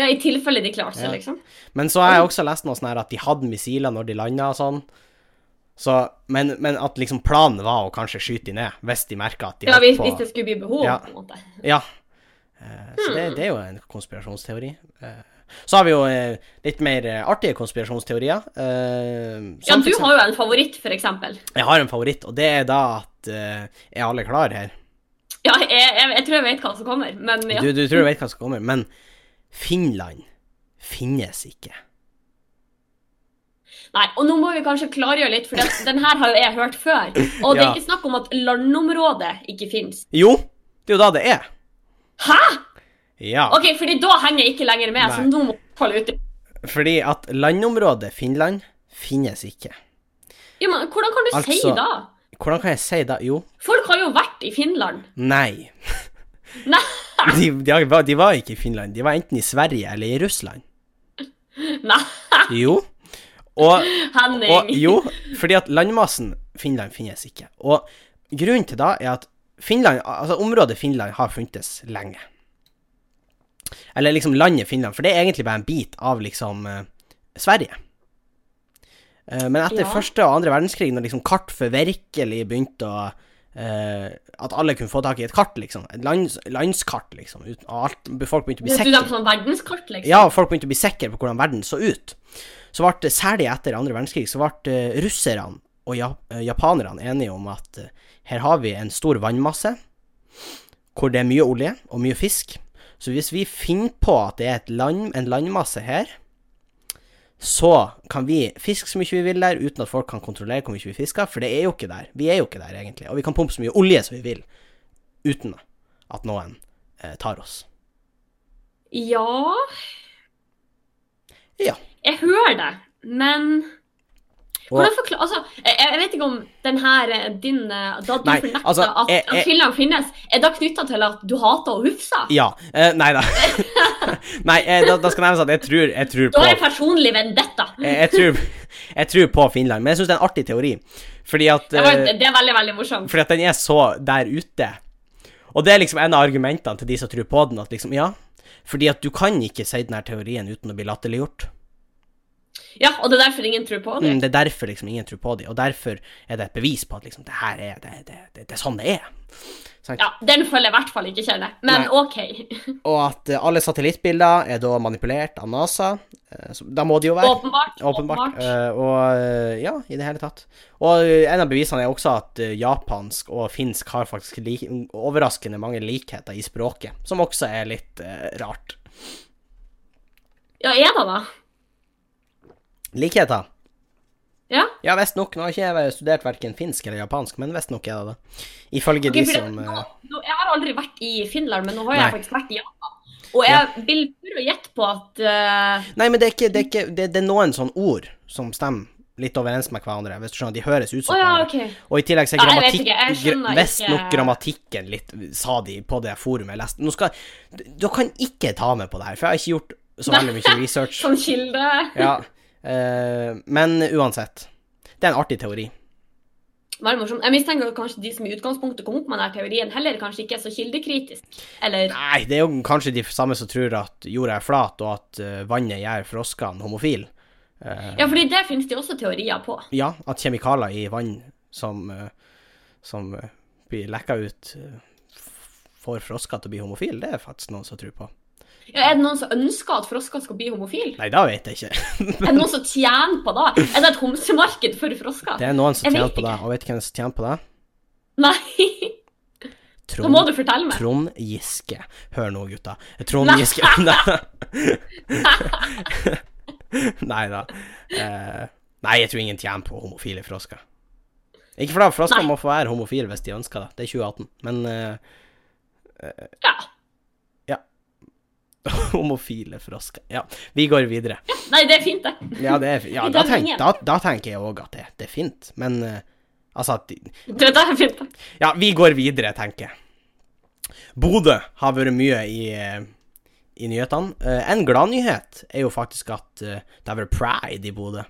Speaker 1: Ja, i tilfelle de klarte seg,
Speaker 2: Ja.
Speaker 1: liksom.
Speaker 2: Men så har jeg også lest noe sånn her at de hadde missiler når de landa og sånn. Så, men, men at liksom planen var å kanskje skyte de ned, hvis de merka at de
Speaker 1: Ja, hvis,
Speaker 2: på
Speaker 1: hvis det skulle bli behov,
Speaker 2: Ja.
Speaker 1: på en måte.
Speaker 2: Ja. Eh, Så
Speaker 1: Hmm.
Speaker 2: det, det er jo en konspirasjonsteori. Eh, Så har vi jo eh, litt mer eh, artige konspirasjonsteorier. Eh,
Speaker 1: Ja,
Speaker 2: som
Speaker 1: du
Speaker 2: for eksempel-
Speaker 1: har jo en favoritt, for eksempel.
Speaker 2: Jeg har en favoritt, og det er da at eh, Er alle klar her?
Speaker 1: Ja, jeg, jeg, jeg tror jeg vet hva som kommer, men ja.
Speaker 2: Du, du tror du vet hva som kommer, men Finland finnes ikke.
Speaker 1: Nei, og nå må vi kanskje klargjøre litt, for det, den her har jo jeg hørt før. Og det er
Speaker 2: Ja.
Speaker 1: ikke snakk om at landområdet ikke finnes.
Speaker 2: Jo, det er jo da det er.
Speaker 1: Hæ?!
Speaker 2: Ja.
Speaker 1: Ok, fordi da henger jeg ikke lenger med, så
Speaker 2: Nei.
Speaker 1: nå må jeg kalle ut
Speaker 2: Fordi at landområdet Finland finnes ikke.
Speaker 1: Ja, men hvordan kan du si
Speaker 2: Altså-
Speaker 1: da?
Speaker 2: Hvordan kan jeg si det? Jo,
Speaker 1: Folk har jo vært i Finland.
Speaker 2: nei.
Speaker 1: Nei,
Speaker 2: De, de, var, de var ikke i Finland. De var enten i Sverige eller i Russland.
Speaker 1: nei, Ah!
Speaker 2: Jo. Og,
Speaker 1: Henning.
Speaker 2: og jo, fordi at landmassen Finland finnes ikke. Og grunnen til det er at Finland, altså området Finland har funtes lenge. Eller liksom landet Finland, for det er egentlig bare en bit av liksom eh, Sverige. Eh, men etter
Speaker 1: Ja.
Speaker 2: første og andre verdenskrig, når liksom kart for virkelig begynte å eh, At alle kunne få tak i et kart, liksom. Et lands, landskart, liksom. Uten, og alt, folk begynte å bli
Speaker 1: Du
Speaker 2: sikre.
Speaker 1: er på sånn verdenskart, liksom.
Speaker 2: Ja, og folk begynte å bli sikre på hvordan verden så ut. Så ble det særlig etter andre verdenskrig så ble eh, russerne og ja, eh, japanerne enige om at eh, her har vi en stor vannmasse hvor det er mye olje og mye fisk. Så hvis vi finner på at det er et land, en landmasse her, så kan vi fiske så mye vi vil der uten at folk kan kontrollere hvor mye vi fisker, for det er jo ikke der. Vi er jo ikke der, egentlig. Og vi kan pumpe så mye olje som vi vil uten at noen eh, tar oss.
Speaker 1: Ja
Speaker 2: Ja.
Speaker 1: Jeg hører det, men
Speaker 2: Og-
Speaker 1: Hvordan forklare Altså, jeg, jeg vet ikke om den her eh, din eh, Da du
Speaker 2: Nei,
Speaker 1: fornekta
Speaker 2: altså,
Speaker 1: at,
Speaker 2: jeg- jeg-
Speaker 1: at Finland finnes, er da knytta til at du hater å hufse?
Speaker 2: Ja. Eh, nei da. nei, eh, da, da skal nevnes at jeg tror, jeg tror
Speaker 1: Da
Speaker 2: på
Speaker 1: er det personlig vendetta. Mm.
Speaker 2: jeg, jeg, tror, jeg tror på Finland, men jeg syns det er en artig teori. Fordi at,
Speaker 1: Det, var,
Speaker 2: eh,
Speaker 1: det er veldig, veldig morsomt.
Speaker 2: fordi at den er så der ute. Og det er liksom en av argumentene til de som tror på den, at liksom, ja Fordi at du kan ikke si den her teorien uten å bli latterliggjort.
Speaker 1: Ja, og det er derfor ingen tror på det.
Speaker 2: Mm, det er derfor liksom ingen tror på dem, og derfor er det et bevis på at liksom, det her er det, det, det, det er sånn det er. Sant?
Speaker 1: Ja, Den følger jeg i hvert fall ikke kjenner. Men
Speaker 2: Nei.
Speaker 1: OK.
Speaker 2: Og at eh, alle satellittbilder er da manipulert av NASA. eh, så, da må de jo være.
Speaker 1: Åpenbart.
Speaker 2: Åpenbart. eh, og eh, ja, i det hele tatt. Og eh, en av bevisene er også at eh, japansk og finsk har faktisk lik- overraskende mange likheter i språket, som også er litt eh, rart.
Speaker 1: Ja, er det da?
Speaker 2: Likheter?
Speaker 1: Ja.
Speaker 2: Ja, visstnok. Nå har ikke jeg studert verken finsk eller japansk, men visstnok er det det. Ifølge
Speaker 1: Ok,
Speaker 2: de
Speaker 1: for
Speaker 2: som
Speaker 1: jeg,
Speaker 2: eh,
Speaker 1: nå, nå, jeg har aldri vært i Finland, men nå har jeg
Speaker 2: Nei.
Speaker 1: faktisk vært i Japan. Og jeg vil prøve å gjette på at eh,
Speaker 2: Nei, men det er ikke Det er, ikke, det, det er noen sånne ord som stemmer litt overens med hverandre. Hvis du skjønner, De høres ut
Speaker 1: Å
Speaker 2: som
Speaker 1: ja,
Speaker 2: hverandre.
Speaker 1: OK.
Speaker 2: Og i tillegg så
Speaker 1: Ja, jeg
Speaker 2: er
Speaker 1: vet
Speaker 2: grammatikk,
Speaker 1: ikke, jeg skjønner
Speaker 2: gr-
Speaker 1: ikke-
Speaker 2: visstnok grammatikken litt, sa de på det forumet jeg leste. Nå skal, du kan ikke ta meg på det her, for jeg har ikke gjort så veldig mye research.
Speaker 1: Sånn kilde.
Speaker 2: Ja, eh, men uansett. Det er en artig teori.
Speaker 1: Veldig morsomt. Jeg mistenker at kanskje de som i utgangspunktet kom opp med denne teorien, heller kanskje ikke er så kildekritisk. Eller
Speaker 2: Nei, det er jo kanskje de samme som tror at jorda er flat, og at eh, vannet gjør froskene homofile.
Speaker 1: Ja, fordi det finnes det jo også teorier på.
Speaker 2: Ja, at kjemikalier i vann som, eh, som eh, blir lekka ut, eh, f- får frosker til å bli homofile. Det er faktisk noen som tror på.
Speaker 1: Ja, er det noen som ønsker at frosker skal bli homofile?
Speaker 2: Nei, da vet jeg ikke.
Speaker 1: Er det noen som tjener på det? Er det et homsemarked for frosker?
Speaker 2: Det er noen som
Speaker 1: Jeg
Speaker 2: tjener
Speaker 1: vet
Speaker 2: på det,
Speaker 1: ikke.
Speaker 2: og vet du hvem som tjener på det?
Speaker 1: Nei, da må
Speaker 2: Trond,
Speaker 1: du fortelle meg.
Speaker 2: Trond Giske. Hør nå, gutta. Trond
Speaker 1: Nei.
Speaker 2: Giske Nei da. Eh, nei, jeg tror ingen tjener på homofile frosker. Ikke for da, flasker
Speaker 1: Nei.
Speaker 2: må få være homofil hvis de ønsker det. Det er 2018. Men eh,
Speaker 1: Ja.
Speaker 2: homofile flasker Ja, vi går videre.
Speaker 1: Nei, det er fint, det.
Speaker 2: Ja, det er, ja
Speaker 1: I
Speaker 2: da,
Speaker 1: den
Speaker 2: tenk,
Speaker 1: ringen.
Speaker 2: da, da tenker jeg òg at det, det er fint. Men eh, altså at de,
Speaker 1: Det er det jeg fint, det.
Speaker 2: Ja, vi går videre, tenker jeg. Bodø har vært mye i, eh, i nyhetene. Eh, En gladnyhet er jo faktisk at eh, det har vært pride i Bodø.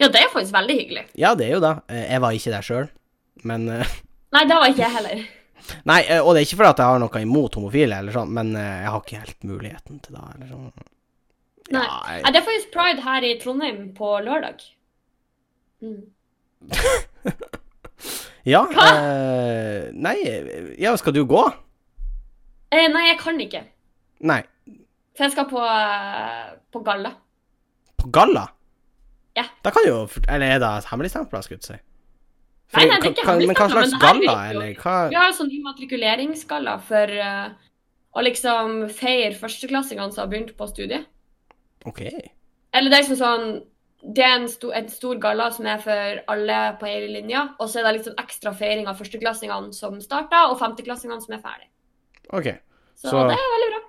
Speaker 1: Ja, det er faktisk veldig hyggelig.
Speaker 2: Ja, det er jo det. Eh, Jeg var ikke der sjøl. Men eh,
Speaker 1: Nei, det var ikke jeg heller.
Speaker 2: Nei, eh, og det er ikke fordi at jeg har noe imot homofile, eller sånn, men eh, jeg har ikke helt muligheten til det. Eller sånn.
Speaker 1: Nei.
Speaker 2: Ja, jeg-
Speaker 1: Nei, det er faktisk pride her i Trondheim på lørdag. Mm.
Speaker 2: Ja, eh, nei Ja, skal du gå?
Speaker 1: Eh, nei, jeg kan ikke.
Speaker 2: Nei.
Speaker 1: For jeg skal på, eh, på galla.
Speaker 2: På galla?
Speaker 1: Ja.
Speaker 2: Da kan jo fort- Eller er det hemmeligstempla, skulle jeg til å si?
Speaker 1: Nei, nei, det er
Speaker 2: kan-
Speaker 1: ikke
Speaker 2: kan- Men hva
Speaker 1: hemmeligstemplet,
Speaker 2: slags
Speaker 1: men det her virker jo-
Speaker 2: galla, eller hva
Speaker 1: Vi har jo sånn immatrikuleringsgalla for eh, å liksom feire førsteklassingene som har begynt på studiet.
Speaker 2: OK.
Speaker 1: Eller det er liksom sånn Det er en stor, en stor galla som er for alle på hele linja. Og så er det liksom ekstra feiring av førsteklassingene som starta, og femteklassingene som er ferdig.
Speaker 2: ok.
Speaker 1: Så,
Speaker 2: Så-
Speaker 1: det er veldig bra.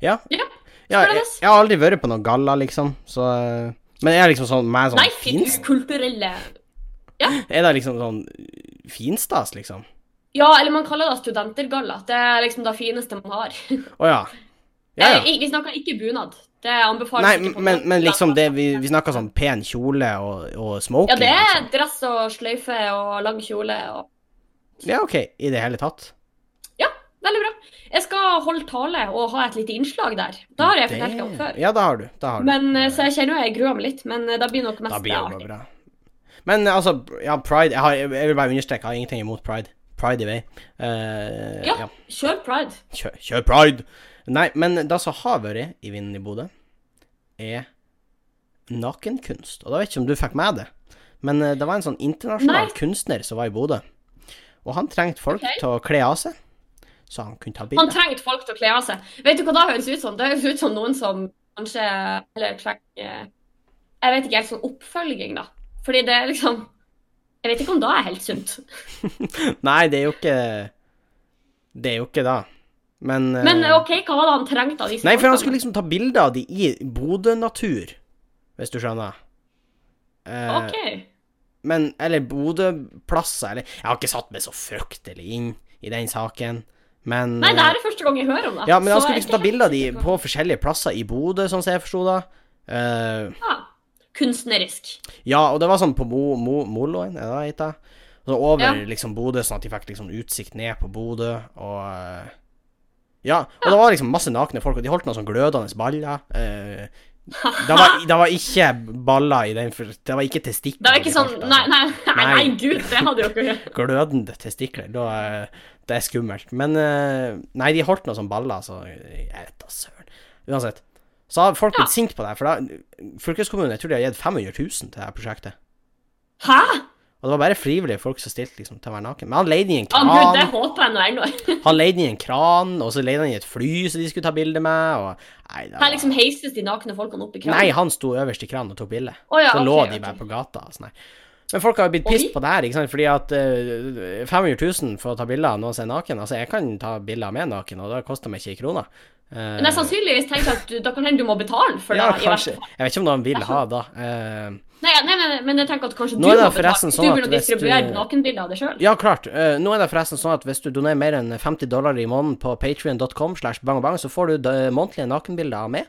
Speaker 2: Ja.
Speaker 1: Ja,
Speaker 2: Ja,
Speaker 1: spennende.
Speaker 2: jeg, jeg har aldri vært på noen galla, liksom, så eh, Men er det liksom sånn mer sånn
Speaker 1: Nei,
Speaker 2: fin,
Speaker 1: fint kulturelle
Speaker 2: Er det liksom sånn eh, finstas, liksom?
Speaker 1: Ja, eller man kaller det studentergalla. Det er liksom det fineste man har.
Speaker 2: Å ja. Ja, ja.
Speaker 1: Eh, Vi snakker ikke bunad. Det anbefales
Speaker 2: Nei,
Speaker 1: ikke på
Speaker 2: men,
Speaker 1: noen
Speaker 2: men liksom det
Speaker 1: galla.
Speaker 2: Vi, vi snakker sånn pen kjole og, og smoking.
Speaker 1: Ja, det er
Speaker 2: liksom.
Speaker 1: dress og sløyfe og lang kjole og
Speaker 2: Ja, OK. I det hele tatt.
Speaker 1: Veldig bra. Jeg skal holde tale og ha et lite innslag der. Da har jeg fortalt det om før.
Speaker 2: Ja, det har du. Det har du.
Speaker 1: Men, eh, så jeg kjenner jo jeg gruer meg litt, men eh, da blir nok mest
Speaker 2: Da blir det
Speaker 1: artig.
Speaker 2: bare bra. Men eh, altså, ja, pride Jeg, har, jeg vil bare understreke, jeg har ingenting imot pride. Pride i vei. Eh,
Speaker 1: Ja. Kjør pride.
Speaker 2: Kjør, kjør pride! Nei, men det som har vært i vinden i Bodø, er nakenkunst. Og da vet jeg ikke om du fikk med det, men eh, det var en sånn internasjonal
Speaker 1: Nei.
Speaker 2: kunstner som var i Bodø. Og han trengte folk
Speaker 1: Ok.
Speaker 2: til å kle av seg, så han kunne ta
Speaker 1: Han
Speaker 2: bilder.
Speaker 1: trengte folk til å kle av seg. Vet du hva det høres ut som? Det høres ut som noen som kanskje Eller trenger eh, Jeg vet ikke helt sånn oppfølging, da. Fordi det er liksom Jeg vet ikke om det er helt sunt.
Speaker 2: Nei, det er jo ikke Det er jo ikke det. Men, eh,
Speaker 1: Men eh, OK, hva var det han trengte av disse
Speaker 2: Nei, for han
Speaker 1: folkene?
Speaker 2: skulle liksom ta bilder av de i Bodø-natur, hvis du skjønner. Eh,
Speaker 1: OK.
Speaker 2: Men Eller Bodø-plasser, eller Jeg har ikke satt meg så fryktelig inn i den saken, men eh,
Speaker 1: Nei, det her er første gang jeg hører om det.
Speaker 2: Ja, men han
Speaker 1: så
Speaker 2: skulle
Speaker 1: jeg er
Speaker 2: liksom ta
Speaker 1: ikke helt
Speaker 2: bilder av de
Speaker 1: sikker
Speaker 2: på forskjellige plasser i Bodø, sånn som jeg forsto det. Eh,
Speaker 1: Ja. Kunstnerisk.
Speaker 2: ja, og det var sånn på Mo, Mo, Moloen, er det det heter? Og Så over
Speaker 1: Ja.
Speaker 2: liksom Bodø, sånn at de fikk liksom utsikt ned på Bodø, og eh, Ja, og det var liksom masse nakne folk, og de holdt noen sånn glødende baller. eh, det, var, det var ikke baller i den for Det var ikke testikler.
Speaker 1: Det er ikke
Speaker 2: de
Speaker 1: sånn
Speaker 2: holdt der,
Speaker 1: Nei, nei, nei, nei,
Speaker 2: Nei.
Speaker 1: gud, det hadde jo ikke
Speaker 2: glødende testikler. Da, eh, det er skummelt. Men eh, Nei, de holdt noe som baller, så jeg vet da søren. Uansett. Så har folk
Speaker 1: Ja.
Speaker 2: blitt sinte på det. her, For da, fylkeskommunen jeg tror de har gitt 500 000 til det her prosjektet.
Speaker 1: Hæ?
Speaker 2: Og det var bare frivillige folk som stilte liksom, til å være naken. Men han leide inn i en
Speaker 1: Å gud, det
Speaker 2: kran,
Speaker 1: håper jeg nå ennå.
Speaker 2: han leide inn i en kran, og så leide han inn i et fly som de skulle ta bilde med, og Nei, det
Speaker 1: Her
Speaker 2: var
Speaker 1: liksom heises de nakne folkene opp i kranen.
Speaker 2: Nei, han sto øverst i kranen og tok bilde.
Speaker 1: Å ja,
Speaker 2: så
Speaker 1: ok,
Speaker 2: lå de
Speaker 1: ok.
Speaker 2: bare på gata. og sånn her. Men folk har jo blitt
Speaker 1: Oi.
Speaker 2: pissed på det her, ikke sant? fordi at eh, 500 000 for å ta bilder av noen som er naken. Altså, jeg kan ta bilder av meg naken, og det koster meg ikke en krone. Eh,
Speaker 1: Men jeg sannsynligvis tenker at du, da kan hende du må betale for
Speaker 2: ja,
Speaker 1: det. i
Speaker 2: kanskje.
Speaker 1: hvert fall.
Speaker 2: Jeg vet ikke om noen vil ha da. Eh,
Speaker 1: Nei, nei, nei, nei, men jeg tenker at kanskje du
Speaker 2: Nå
Speaker 1: må
Speaker 2: er det
Speaker 1: betale.
Speaker 2: forresten
Speaker 1: du
Speaker 2: sånn at
Speaker 1: begynner å
Speaker 2: hvis du-
Speaker 1: distribuere nakenbilder av deg sjøl.
Speaker 2: ja, klart. Eh, nå er det forresten sånn at hvis du donerer mer enn 50 dollar i måneden på patrion.com, slash bang og bang, så får du da- månedlige nakenbilder av meg.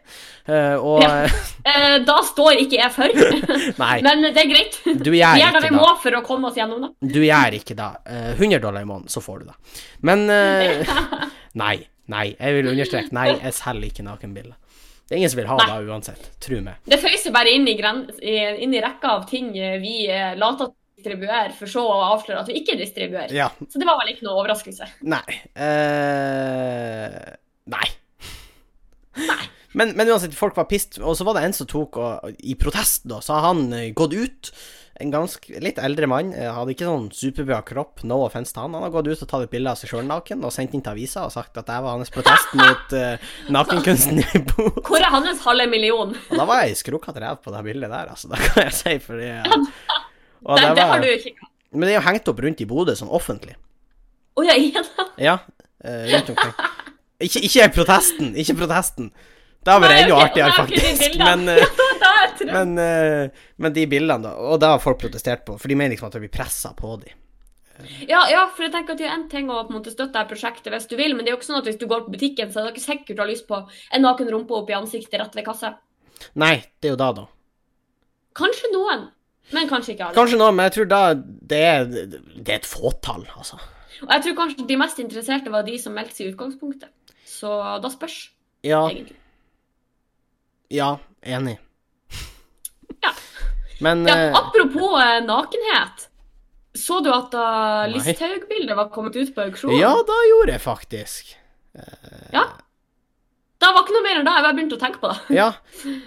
Speaker 2: Eh, og
Speaker 1: Ja. Eh, da står ikke jeg for.
Speaker 2: Nei,
Speaker 1: men det er greit.
Speaker 2: du
Speaker 1: Vi gjør
Speaker 2: gjør
Speaker 1: det vi
Speaker 2: ikke det.
Speaker 1: må for å komme oss gjennom det.
Speaker 2: Du gjør ikke det. Eh, 100 dollar i måneden, så får du det. Men eh, Nei. Nei. Jeg vil understreke, nei, jeg selger ikke nakenbilder. Det er ingen som vil ha det uansett. Tro meg.
Speaker 1: Det føyser bare inn i, gren i- inn i rekka av ting eh, vi eh, later at vi distribuerer, for så å avsløre at vi ikke distribuerer.
Speaker 2: Ja.
Speaker 1: Så det var vel ikke noe overraskelse.
Speaker 2: Nei. eh, nei. Men, men uansett, folk var pissed, og så var det en som tok og, og I protest, da, så har han eh, gått ut. En ganske litt eldre mann. eh, Hadde ikke sånn superbra kropp, no offense til han. Han har gått ut og tatt et bilde av seg sjøl naken og sendt inn til avisa og sagt at det var hans protest mot eh, nakenkunsten i Bodø.
Speaker 1: Hvor er hans halve million?
Speaker 2: Og da var jeg skrukket ræv på det bildet der, altså. Det kan jeg si, fordi eh, Og
Speaker 1: Nei,
Speaker 2: det
Speaker 1: det har
Speaker 2: var-
Speaker 1: du ikke.
Speaker 2: Men det er jo hengt opp rundt i Bodø som offentlig.
Speaker 1: Å ja, igjen.
Speaker 2: Ja, eh, rundt omkring. Ikke, ikke protesten, ikke protesten. Det har vært
Speaker 1: Nei,
Speaker 2: enda
Speaker 1: ok,
Speaker 2: artigere,
Speaker 1: nei, ok, de
Speaker 2: faktisk.
Speaker 1: bildene.
Speaker 2: Men, eh,
Speaker 1: Da er jeg trøtt.
Speaker 2: men, eh, men de bildene, da. Og det har folk protestert på, for de mener liksom at det blir pressa på dem.
Speaker 1: Ja, ja, for jeg tenker at det er en ting å på en måte støtte dette prosjektet hvis du vil, men det er jo ikke sånn at hvis du går på butikken, så er det ikke sikkert du har lyst på en naken rumpe opp i ansiktet rett ved kassa.
Speaker 2: Nei, det er jo da, da.
Speaker 1: Kanskje noen, men kanskje ikke alle.
Speaker 2: Kanskje noe, men jeg tror da det er, det er et fåtall, altså.
Speaker 1: Og jeg tror kanskje de mest interesserte var de som meldte seg i utgangspunktet. Så da spørs,
Speaker 2: Ja,
Speaker 1: egentlig.
Speaker 2: ja, enig.
Speaker 1: Ja.
Speaker 2: Men
Speaker 1: Ja,
Speaker 2: eh,
Speaker 1: apropos eh, nakenhet. Så du at da
Speaker 2: Nei.
Speaker 1: Listhaug-bildet var kommet ut på auksjon?
Speaker 2: Ja, da gjorde jeg faktisk.
Speaker 1: Ja. Da var ikke noe mer enn da. Jeg bare begynte å tenke på det.
Speaker 2: Ja.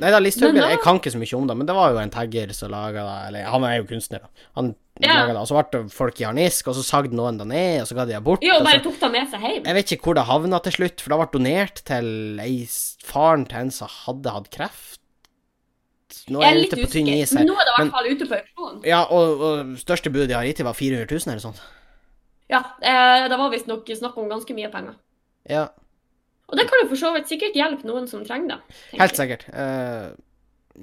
Speaker 2: Nei da, Listhaug
Speaker 1: Men da-
Speaker 2: Jeg kan ikke så mye om det, men det var jo en tagger som laga det Eller han er jo kunstner, da. Han
Speaker 1: Ja.
Speaker 2: laget det, og så ble det folk i harnisk, og så sagde noen det ned, og så ga de det bort.
Speaker 1: Jo,
Speaker 2: og
Speaker 1: bare
Speaker 2: så,
Speaker 1: tok det med seg hjem.
Speaker 2: Altså, jeg vet ikke hvor det havna til slutt, for det ble donert til ei s- faren til en som hadde hatt kreft. Nå
Speaker 1: Jeg
Speaker 2: er
Speaker 1: er
Speaker 2: jeg
Speaker 1: litt
Speaker 2: ute på
Speaker 1: usikker,
Speaker 2: tynn is
Speaker 1: men
Speaker 2: her.
Speaker 1: nå er det i
Speaker 2: men-
Speaker 1: hvert fall ute på auksjon.
Speaker 2: Ja, og, og største budet de har hittil, var 400 000, eller sånt.
Speaker 1: Ja, eh, det var visstnok snakk om ganske mye penger.
Speaker 2: Ja,
Speaker 1: Og det kan jo for så vidt sikkert hjelpe noen som trenger det. tenker jeg.
Speaker 2: helt sikkert. Eh,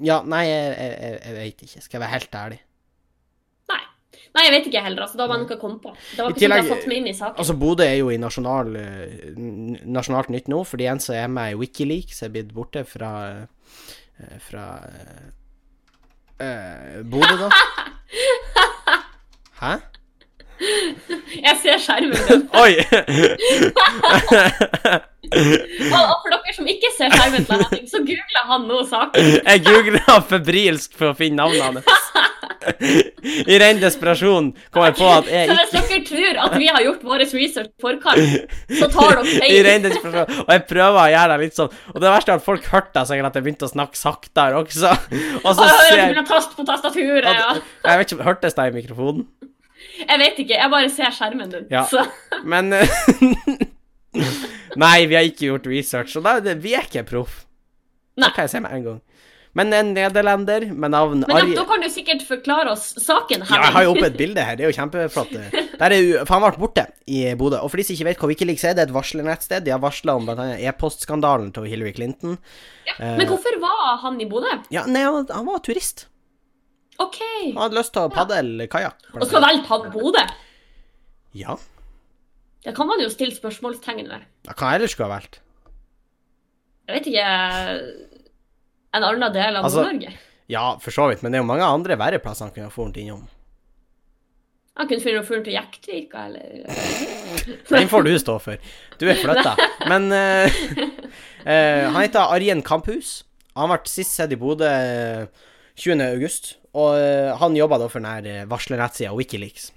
Speaker 2: ja, nei, jeg, jeg, jeg- jeg veit ikke. Skal jeg være helt ærlig.
Speaker 1: Nei, jeg vet ikke heller, altså. Da var det noe jeg kom på. Det var ikke sånn
Speaker 2: I
Speaker 1: at jeg
Speaker 2: tillegg-
Speaker 1: satte meg inn i saken.
Speaker 2: Altså, Bodø er jo i nasjonal, eh, n- nasjonalt nytt nå, fordi en som er med i Wikileaks er blitt borte fra eh, fra eh, eh, Bodø, da. Hæ?
Speaker 1: Jeg ser skjermen din.
Speaker 2: Oi!
Speaker 1: Og og for dere som ikke ser skjermen til Henning, så googler han nå saken.
Speaker 2: Jeg googla febrilsk for å finne navnet hans. I ren desperasjon kom jeg på at
Speaker 1: Så
Speaker 2: jeg
Speaker 1: hvis dere tror at vi har gjort vår research på forkant, så tar dere
Speaker 2: I
Speaker 1: feil.
Speaker 2: ren desperasjon. Og jeg prøver å gjøre det litt sånn. Og det verste er at folk hørte det sikkert at jeg begynte å snakke saktere også.
Speaker 1: Og
Speaker 2: Og så
Speaker 1: jeg hører at du
Speaker 2: ser
Speaker 1: begynner å taste på tastaturet. Ja.
Speaker 2: At- Jeg vet ikke, hørtes det i mikrofonen?
Speaker 1: Jeg vet ikke, jeg bare ser skjermen din.
Speaker 2: Ja.
Speaker 1: Så.
Speaker 2: Men eh, Nei, vi har ikke gjort research, og da, er det, vi er ikke proff.
Speaker 1: Nei.
Speaker 2: Det kan jeg si med en gang. Men en nederlender med navn
Speaker 1: Men
Speaker 2: Arje
Speaker 1: da kan du sikkert forklare oss saken
Speaker 2: ja,
Speaker 1: her.
Speaker 2: jeg har jo oppe et bilde her, det er jo kjempeflott. Der er jo, for han ble borte i Bodø. Og for de som ikke vet hva Wikileaks er, det er et varslenettsted. De har varsla om blant annet e-postskandalen til Hillary Clinton.
Speaker 1: Ja, Men hvorfor var han i Bodø?
Speaker 2: Ja, nei, han, han var turist.
Speaker 1: OK.
Speaker 2: Han hadde lyst til å padle kajakk.
Speaker 1: Og så valgte han Bodø.
Speaker 2: Ja.
Speaker 1: Det kan man jo stille spørsmålstegn ved.
Speaker 2: Ja, Hva ellers skulle ha valgt?
Speaker 1: Jeg vet ikke En annen del av
Speaker 2: Altså-
Speaker 1: Nord-Norge.
Speaker 2: Ja, for så vidt, men det er jo mange andre verre plasser han kunne ha fort innom.
Speaker 1: Han kunne finne fyren til Jektvika, eller
Speaker 2: Den får du stå for. Du er flytta. Men eh, eh, han heter Arjen Kamphus. Han ble sist sett i Bodø eh, 20. august, og eh, han jobba da for den her eh, varslerettsida Wikileaks.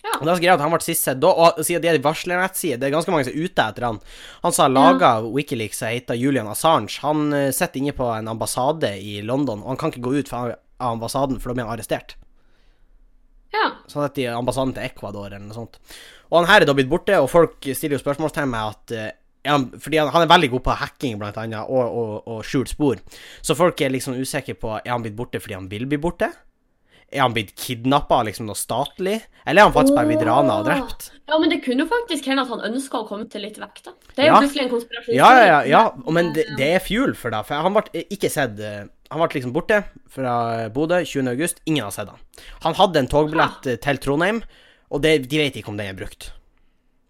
Speaker 1: Ja.
Speaker 2: Og da skrev jeg at han ble sist sett da, og siden det er en varslerettside, det er ganske mange som er ute etter han. Han som har laga Wikileaks, som heter Julian Assange, han eh, sitter inne på en ambassade i London, og han kan ikke gå ut fra- av ambassaden, for da blir han arrestert.
Speaker 1: Ja.
Speaker 2: Sånn at de er ambassaden til Ecuador eller noe sånt. Og han her er da blitt borte, og folk stiller jo spørsmålstegn med at eh, er han, fordi han, han er veldig god på hacking, blant annet, og, og, og skjult spor. Så folk er liksom usikre på Er han blitt borte fordi han vil bli borte. Er han blitt kidnappa liksom noe statlig? Eller er han faktisk bare blitt rana og drept?
Speaker 1: ja, men det kunne jo faktisk hende at han ønska å komme til litt vekk, da. Det er jo
Speaker 2: Ja.
Speaker 1: plutselig en konspirasjon.
Speaker 2: Ja, ja, ja. ja. Og Men det, det er fuel for det. For han ble ikke sett eh, Han ble liksom borte fra eh, Bodø 20. august. Ingen har sett han. Han hadde en togbillett eh, til Trondheim, og det, de vet ikke om den er brukt.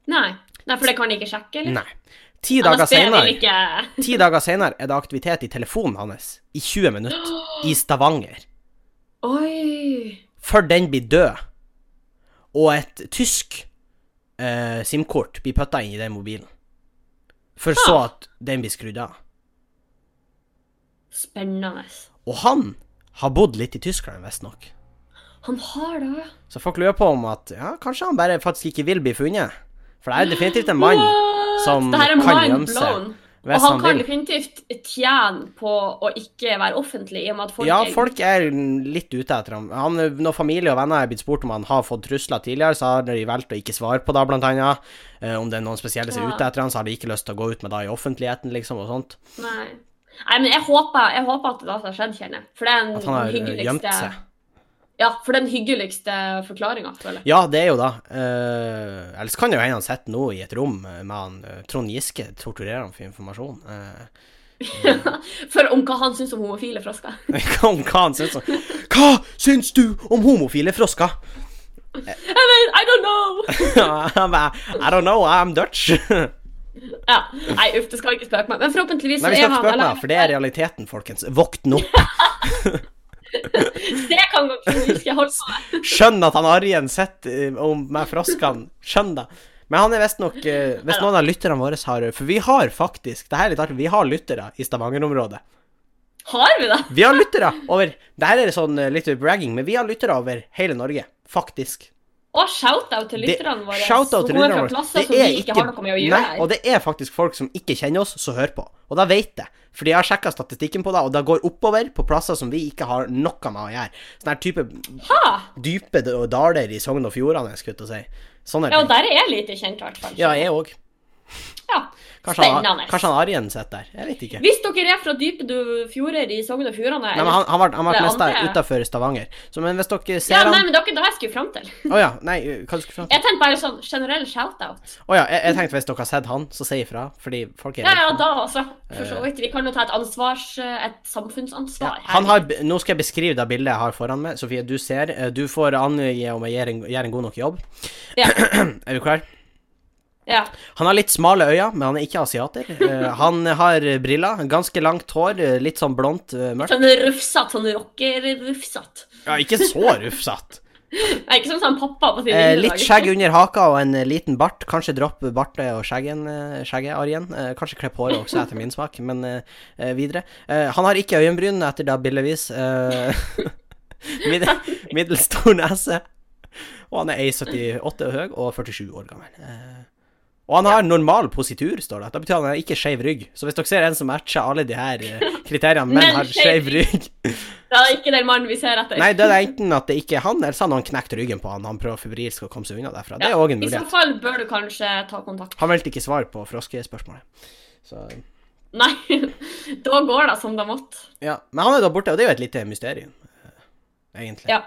Speaker 1: Nei. Nei, for det kan de ikke sjekke, eller?
Speaker 2: Nei. Ti dager
Speaker 1: NSB vil
Speaker 2: senere,
Speaker 1: ikke
Speaker 2: ti dager senere er det aktivitet i telefonen hans i 20 minutter i Stavanger.
Speaker 1: Oi.
Speaker 2: Før den blir død, og et tysk eh, SIM-kort blir putta inn i den mobilen. For så
Speaker 1: Ah.
Speaker 2: at den blir skrudd av.
Speaker 1: Spennende.
Speaker 2: Og han har bodd litt i Tyskland, visstnok.
Speaker 1: Han har det.
Speaker 2: Så folk lurer på om at ja, kanskje han bare faktisk ikke vil bli funnet. For det er definitivt en mann
Speaker 1: What?
Speaker 2: som
Speaker 1: Det her er
Speaker 2: kan
Speaker 1: mind
Speaker 2: gjemme seg.
Speaker 1: blown. Og
Speaker 2: hvis
Speaker 1: han
Speaker 2: han
Speaker 1: kan
Speaker 2: vil.
Speaker 1: definitivt tjene på å ikke være offentlig, i og med at folk
Speaker 2: Ja,
Speaker 1: er-
Speaker 2: folk er litt ute etter ham. Han, når familie og venner er blitt spurt om han har fått trusler tidligere, så har de valgt å ikke svare på det, blant annet. Eh, om det er noen spesielle som er
Speaker 1: Ja.
Speaker 2: ute etter han, så har de ikke lyst til å gå ut med det i offentligheten, liksom, og sånt.
Speaker 1: Nei. Nei, men jeg håper, jeg håper at det da har skjedd, kjenner jeg. For det er en
Speaker 2: At han har eh,
Speaker 1: hyggeligste
Speaker 2: gjemt seg.
Speaker 1: Ja, for den hyggeligste forklaringa, føler jeg.
Speaker 2: Ja, det er jo da. Eh, ellers kan det jo hende han sitter nå i et rom eh, med han eh, Trond Giske, torturerer han for informasjon. Eh,
Speaker 1: For om hva han syns om homofile frosker.
Speaker 2: om hva han syns om Hva syns du om homofile frosker?
Speaker 1: I mean, I don't know!
Speaker 2: Han bare I don't know, I'm Dutch.
Speaker 1: Ja. Nei, uff, det skal ikke spøke meg. Men forhåpentligvis
Speaker 2: Nei,
Speaker 1: så er
Speaker 2: vi skal ikke
Speaker 1: han
Speaker 2: spøke
Speaker 1: eller-
Speaker 2: meg, for det er realiteten, folkens. Våkn opp.
Speaker 1: Det kan godt ikke holde på med.
Speaker 2: Skjønn at han Arjen sitter eh, om- med froskene. Skjønn det. Men han er visstnok eh, Hvis noen av lytterne våre har eh, For vi har faktisk det her er litt artig, vi har lyttere i Stavanger-området.
Speaker 1: Har vi det?
Speaker 2: Vi har lyttere over Det her er sånn eh, litt bragging, men vi har lyttere over hele Norge, faktisk.
Speaker 1: Og shout-out til
Speaker 2: Det-
Speaker 1: lytterne våre som
Speaker 2: Shout-out til
Speaker 1: kommer fra
Speaker 2: lytterne våre.
Speaker 1: klasser
Speaker 2: Det
Speaker 1: som vi
Speaker 2: er
Speaker 1: ikke, har noe med å gjøre.
Speaker 2: Nei, og det er faktisk folk som ikke kjenner oss, som hører på. Og da vet jeg. Fordi jeg har sjekka statistikken på det, og det går oppover på plasser som vi ikke har noe med å gjøre. Sånn her type
Speaker 1: ha!
Speaker 2: dype d- daler i Sogn og Fjordane, skulle jeg til å si. Sånne
Speaker 1: Ja, og
Speaker 2: ting.
Speaker 1: der er jeg lite kjent, i hvert fall.
Speaker 2: Ja, jeg òg.
Speaker 1: Ja.
Speaker 2: Kanskje, han-
Speaker 1: Spennende.
Speaker 2: kanskje han Arjen sitter der. Jeg vet ikke.
Speaker 1: Hvis dere er fra dype du- fjorder i Sogn og Fjordane
Speaker 2: Nei, men han, han ble, han ble
Speaker 1: Det
Speaker 2: mista
Speaker 1: andre-
Speaker 2: utafor Stavanger. Så men hvis dere ser
Speaker 1: Ja, nei,
Speaker 2: han
Speaker 1: men det var ikke det jeg skulle fram til.
Speaker 2: Å ja. Nei, hva du skulle fram til?
Speaker 1: Jeg tenkte bare sånn generell shout-out.
Speaker 2: Å ja, jeg, jeg tenkte hvis dere har sett han, så si ifra. Fordi folk er
Speaker 1: Ja, ja, da også. For
Speaker 2: Eh.
Speaker 1: så vidt. Vi kan jo ta et ansvars... Et samfunnsansvar. her.
Speaker 2: Han har, nå skal jeg beskrive det bildet jeg har foran meg. Sofie, du ser. eh, Du får angi om jeg gjør en, gjør en god nok jobb.
Speaker 1: Ja.
Speaker 2: Er du klar?
Speaker 1: Ja.
Speaker 2: Han har litt smale øyne, men han er ikke asiater. Eh, Han har briller, ganske langt hår, eh, litt sånn blondt, eh, mørkt.
Speaker 1: Sånn rufsete, sånn rocker-rufsete.
Speaker 2: Ja, ikke så rufsete.
Speaker 1: Nei, Ikke som sånn pappa på sine
Speaker 2: Eh,
Speaker 1: yngre
Speaker 2: litt
Speaker 1: dager.
Speaker 2: skjegg under haka og en eh, liten bart. Kanskje dropp bartet og skjeggen, eh, skjegget, Arjen. Eh, Kanskje klipp håret også, etter min smak, men eh, eh, videre. Eh, Han har ikke øyenbryn, etter det bildevis. Eh, Mid middels stor nese. Og han er 1,78 høy og 47 år gammel. Eh, Og han har normal positur, står det. Det betyr at han har ikke skeiv rygg. Så hvis dere ser en som matcher alle de her eh, kriteriene, men
Speaker 1: Men
Speaker 2: har
Speaker 1: skeiv
Speaker 2: skeiv rygg
Speaker 1: Det er ikke den mannen vi ser etter.
Speaker 2: Nei, det er enten at det ikke er han, eller så har noen knekt ryggen på han. Han prøver febrilsk å komme seg unna derfra. Det er òg en
Speaker 1: I så
Speaker 2: mulighet.
Speaker 1: fall bør du kanskje ta kontakt.
Speaker 2: Han meldte ikke svar på froskespørsmålet. Så,
Speaker 1: Nei, da går det som det måtte.
Speaker 2: ja. Men han er da borte, og det er jo et lite mysterium, eh, egentlig.
Speaker 1: Ja.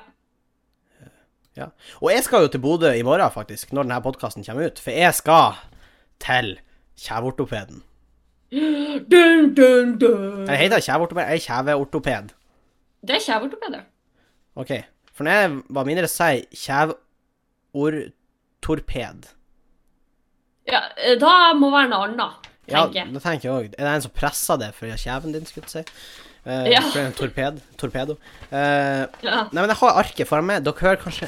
Speaker 2: Ja. Og jeg skal jo til Bodø i morgen, faktisk, når denne podkasten kommer ut. For jeg skal til kjeveortopeden.
Speaker 1: Dun, dun, dun.
Speaker 2: Eller heter det kjeveortoped? Jeg er kjeveortoped.
Speaker 1: Det er kjeveortopeder.
Speaker 2: OK. For når jeg var mindre, sa jeg kjeveortorped.
Speaker 1: Ja, eh, da må være noe annet,
Speaker 2: Ja,
Speaker 1: tenker jeg.
Speaker 2: det tenker jeg òg. Er det en som presser det for å gjøre kjeven din, skulle jeg til å si? Eh,
Speaker 1: Ja.
Speaker 2: For en torped. Torpedo. Eh,
Speaker 1: Ja.
Speaker 2: nei, men jeg har arket foran meg. Dere hører kanskje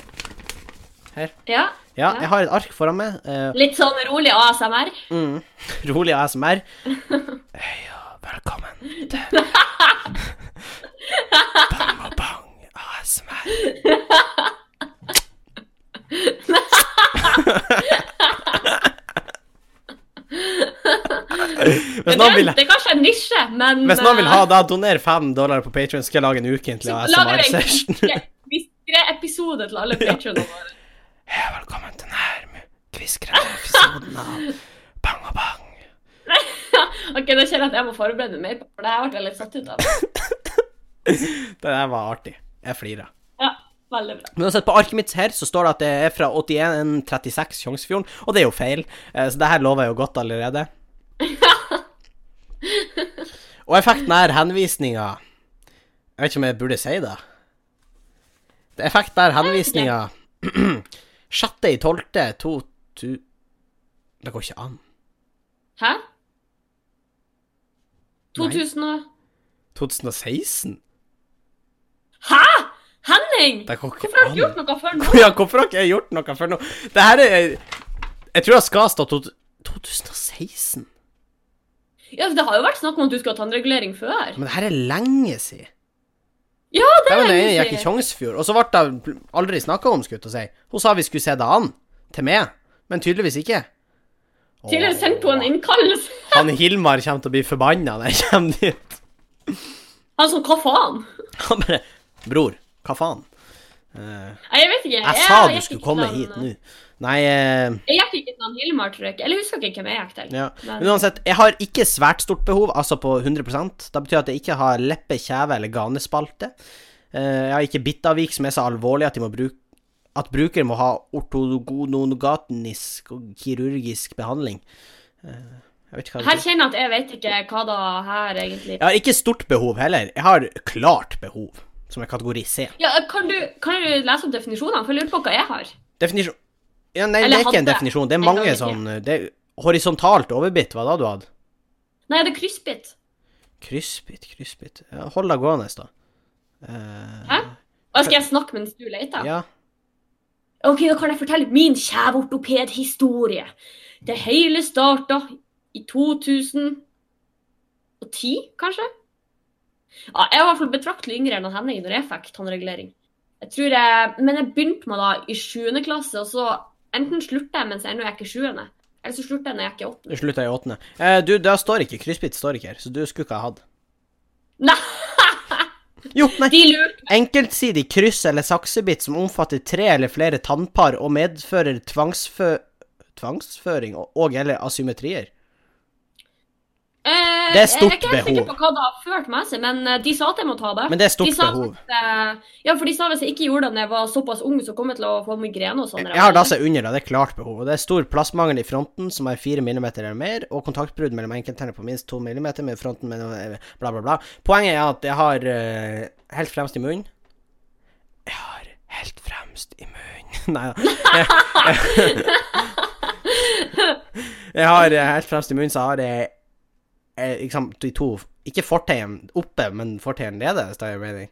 Speaker 1: ja.
Speaker 2: Ja,
Speaker 1: Ja.
Speaker 2: jeg har et ark foran meg. eh,
Speaker 1: Litt sånn rolig ASMR.
Speaker 2: mm, rolig ASMR. Hei og velkommen til Bang og bang ASMR. Hvis
Speaker 1: Det,
Speaker 2: noen vil
Speaker 1: det er kanskje en nisje, men
Speaker 2: Hvis noen vil ha
Speaker 1: eh,
Speaker 2: da, doner fem dollar på Patreon, skal jeg lage en ukentlig
Speaker 1: så lager vi en
Speaker 2: ASMR-session.
Speaker 1: kviskre- kviskeepisode til alle patronene våre.
Speaker 2: Hei, velkommen til denne kviskrende episoden av Bang og Bang.
Speaker 1: Ok, Da kjenner jeg at jeg må forberede meg mer, på, for det her ble jeg litt satt ut av.
Speaker 2: Det der var artig. Jeg flirer.
Speaker 1: Ja, veldig bra.
Speaker 2: Men uansett, på arket mitt her så står det at det er fra 8136 Tjongsfjorden, og det er jo feil, eh, så det her lover jeg jo godt allerede. Og jeg fikk den her henvisninga Jeg vet ikke om jeg burde si det. Jeg fikk den her henvisninga 6.12.2000 Det går ikke an.
Speaker 1: Hæ? 2000 og
Speaker 2: 2016?
Speaker 1: Hæ?! Henning!
Speaker 2: Det går ikke
Speaker 1: Hvorfor har du
Speaker 2: an.
Speaker 1: ikke gjort noe før nå?
Speaker 2: Ja, hvorfor har ikke jeg gjort noe før nå? Det her er Jeg tror det skal stå to- 2016.
Speaker 1: Ja, for Det har jo vært snakk om at du skulle ha tannregulering før.
Speaker 2: Men det her er lenge siden.
Speaker 1: Ja, det
Speaker 2: Det
Speaker 1: er
Speaker 2: var da jeg
Speaker 1: lenge
Speaker 2: gikk i
Speaker 1: siden.
Speaker 2: Tjongsfjord, og så ble det aldri snakka om, skulle jeg til å si. Hun sa vi skulle se det an, til meg, men tydeligvis ikke. Åh.
Speaker 1: Tidligere sendte hun en innkallelse.
Speaker 2: Han Hilmar kommer til å bli forbanna når jeg kommer dit.
Speaker 1: Han sånn, hva faen?
Speaker 2: Han bare Bror, hva faen? Eh,
Speaker 1: Nei, jeg vet ikke.
Speaker 2: jeg sa du
Speaker 1: gikk
Speaker 2: skulle
Speaker 1: ikke
Speaker 2: komme
Speaker 1: til
Speaker 2: hit
Speaker 1: han-
Speaker 2: nå. Nei eh,
Speaker 1: Jeg gikk ikke til han Hilmar, tror jeg. ikke. Eller jeg husker ikke hvem jeg gikk til.
Speaker 2: Ja.
Speaker 1: Men-
Speaker 2: Uansett, jeg har ikke svært stort behov, altså på 100 Det betyr at jeg ikke har leppe, kjeve eller ganespalte. Eh, ja, ikke bitavvik som er så alvorlig at de må bruke at bruker må ha ortogonogatnisk og kirurgisk behandling. Eh, jeg vet ikke hva
Speaker 1: Her
Speaker 2: det betyr.
Speaker 1: kjenner jeg at jeg vet ikke hva da her egentlig
Speaker 2: Jeg har ikke stort behov heller. Jeg har klart behov, som er kategori C.
Speaker 1: Ja, kan du, kan du lese opp definisjonene? For jeg lurer på hva jeg har.
Speaker 2: Definisjon ja, Nei, det
Speaker 1: Eller
Speaker 2: er ikke en
Speaker 1: hadde.
Speaker 2: definisjon. Det
Speaker 1: En
Speaker 2: er
Speaker 1: gang i
Speaker 2: mange
Speaker 1: tida.
Speaker 2: sånn det er Horisontalt overbitt, hva da du hadde?
Speaker 1: Nei, det er kryssbitt.
Speaker 2: Kryssbitt, kryssbitt ja, Hold deg gående, da. Eh,
Speaker 1: Hæ? Og skal jeg snakke mens du leter?
Speaker 2: ja.
Speaker 1: Ok, da kan jeg fortelle min kjeveortopedhistorie. Det hele starta i 2010, kanskje? Ja, jeg var i hvert fall betraktelig yngre enn han Henning når jeg fikk tannregulering. Jeg tror jeg, Men jeg begynte med det i 7. klasse, og så enten slutta jeg mens jeg ennå gikk i 7., eller så slutta jeg når jeg gikk i 8.
Speaker 2: Du slutta i åttende. Eh, du, da står ikke kryssbitt står ikke her, så du skulle ikke ha hatt.
Speaker 1: Nei,
Speaker 2: Jo, nei.
Speaker 1: de lurte!
Speaker 2: Enkeltsidig kryss- eller saksebitt som omfatter tre eller flere tannpar og medfører tvangsfø... Tvangsføring og- og eller asymmetrier.
Speaker 1: Eh,
Speaker 2: Det er
Speaker 1: Jeg er
Speaker 2: stort
Speaker 1: ikke helt sikker
Speaker 2: behov.
Speaker 1: på hva det har ført med seg, men eh, de sa at jeg må ta det.
Speaker 2: Men det er
Speaker 1: de
Speaker 2: stort
Speaker 1: sa
Speaker 2: behov.
Speaker 1: At, eh, ja, for de sa hvis jeg ikke gjorde det da jeg var såpass ung, så kom jeg til å få migrene og sånn.
Speaker 2: Jeg har dasset under, da. Det er klart behov. Og det er stor plassmangel i fronten, som er 4 mm eller mer, og kontaktbrudd mellom enkelttenner på minst 2 mm med fronten mellom Bla, bla, bla. Poenget er at jeg har eh, helt fremst i munnen Jeg har helt fremst i munnen Nei da. Jeg, jeg har eh, helt fremst i munnen, så har jeg eh, liksom de to Ikke forteien oppe, men forteien nede, hvis det er mening.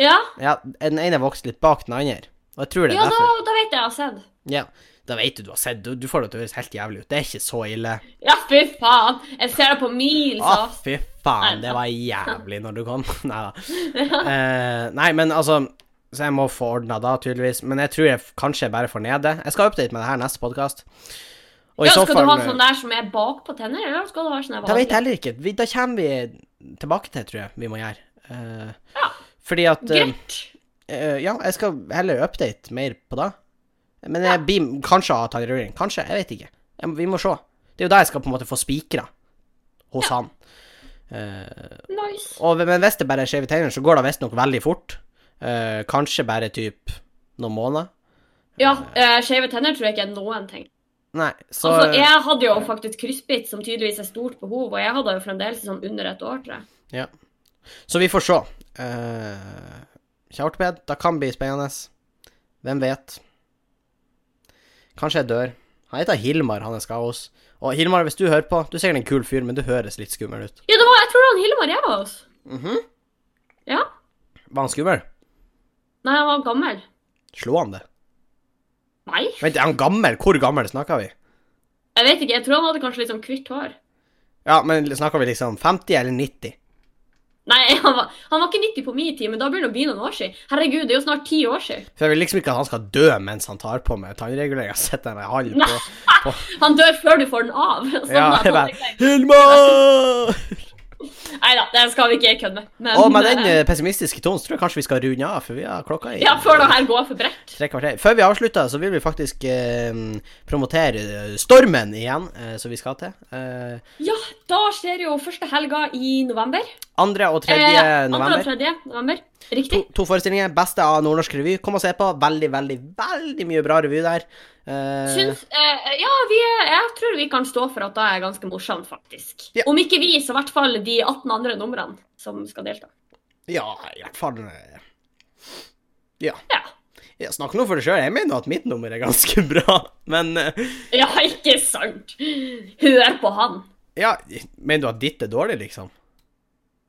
Speaker 1: Ja,
Speaker 2: Ja, den ene vokser litt bak den andre. Og jeg tror det er
Speaker 1: ja da,
Speaker 2: derfor.
Speaker 1: da vet jeg jeg har sett.
Speaker 2: Ja, da vet du du har sett, du, du får det til å høres helt jævlig ut. Det er ikke så ille.
Speaker 1: Ja, fy faen. Jeg ser det på mils
Speaker 2: Å,
Speaker 1: avstand.
Speaker 2: fy faen, det var jævlig når du kom. Nei da. Eh, nei, men altså Så jeg må få ordna da, tydeligvis. Men jeg tror jeg f- kanskje jeg bare får ned det. Jeg skal update med det her neste podkast. Og i
Speaker 1: Ja,
Speaker 2: så
Speaker 1: skal
Speaker 2: fall eh,
Speaker 1: du ha sånn der som er bak på tenner, eller skal du ha sånn der
Speaker 2: Da vet jeg
Speaker 1: vanlig?
Speaker 2: heller ikke. Vi, da kommer vi tilbake til, tror jeg, vi må gjøre. Eh,
Speaker 1: Ja.
Speaker 2: Fordi at eh,
Speaker 1: Greit.
Speaker 2: eh, Ja, jeg skal heller update mer på det. Men jeg blir kanskje av tannregulering. Kanskje. Jeg vet ikke. Jeg, vi må se. Det er jo der jeg skal på en måte få spikra. Hos han. Eh,
Speaker 1: Nice.
Speaker 2: og, men hvis det bare er skjeve tegninger, så går det visstnok veldig fort. Eh, kanskje bare typ noen måneder.
Speaker 1: Ja, eh, skeive tenner tror jeg ikke er noen ting.
Speaker 2: Nei, så eh,
Speaker 1: altså, jeg hadde jo faktisk kryssbitt, som tydeligvis er stort behov, og jeg hadde jo fremdeles sånn under et år, tror jeg.
Speaker 2: Så vi får se. Uh, Kjærtoped, det kan bli spennende. Hvem vet? Kanskje jeg dør. Han heter Hilmar, han jeg skal hos. Og Hilmar, hvis du hører på, du er sikkert en kul fyr, men du høres litt skummel ut.
Speaker 1: Ja, det var, jeg tror det var han Hilmar jeg var hos.
Speaker 2: Mhm.
Speaker 1: Ja.
Speaker 2: Var han skummel?
Speaker 1: Nei, han var gammel.
Speaker 2: Slo han det?
Speaker 1: Nei,
Speaker 2: Vent, er han gammel? Hvor gammel snakker vi?
Speaker 1: jeg vet ikke. Jeg tror han hadde kanskje litt sånn kvitt hår.
Speaker 2: Ja, men snakker vi liksom 50 eller 90?
Speaker 1: Nei, han var, han var ikke 90 på min tid, men da begynner det å bli noen år siden. Herregud, det er jo snart ti år siden.
Speaker 2: For jeg vil liksom ikke at han skal dø mens han tar på med tannregulering. Jeg setter han i halv på
Speaker 1: Han dør før du får den av. Sånn
Speaker 2: Ja,
Speaker 1: at
Speaker 2: jeg
Speaker 1: han
Speaker 2: bare
Speaker 1: tenker,
Speaker 2: Hilmar!
Speaker 1: Nei da, den skal vi ikke kødde med. Men,
Speaker 2: Og med den
Speaker 1: eh,
Speaker 2: eh, pessimistiske tonen så tror jeg kanskje vi skal runde av, for vi har klokka i
Speaker 1: Ja, før det her går for bredt.
Speaker 2: tre kvarter. Før vi avslutter, så vil vi faktisk eh, promotere eh, Stormen igjen, eh, som vi skal til. Eh,
Speaker 1: Ja, da skjer jo første helga i november.
Speaker 2: andre og tredje
Speaker 1: Eh, Andre og
Speaker 2: november.
Speaker 1: tredje november.
Speaker 2: To,
Speaker 1: Riktig.
Speaker 2: to forestillinger. Beste av nordnorsk revy. Kom og se på. Veldig, veldig, veldig mye bra revy der. Eh,
Speaker 1: Syns eh, Ja, vi, er- jeg tror vi kan stå for at det er ganske morsomt, faktisk.
Speaker 2: Ja.
Speaker 1: Om ikke vi, så i hvert fall de 18 andre numrene som skal delta.
Speaker 2: Ja, i hvert fall eh, Ja.
Speaker 1: Ja.
Speaker 2: ja snakk nå for deg sjøl. Jeg mener at mitt nummer er ganske bra, men eh,
Speaker 1: Ja, ikke sant? Hør på han.
Speaker 2: Ja, mener du at ditt er dårlig, liksom?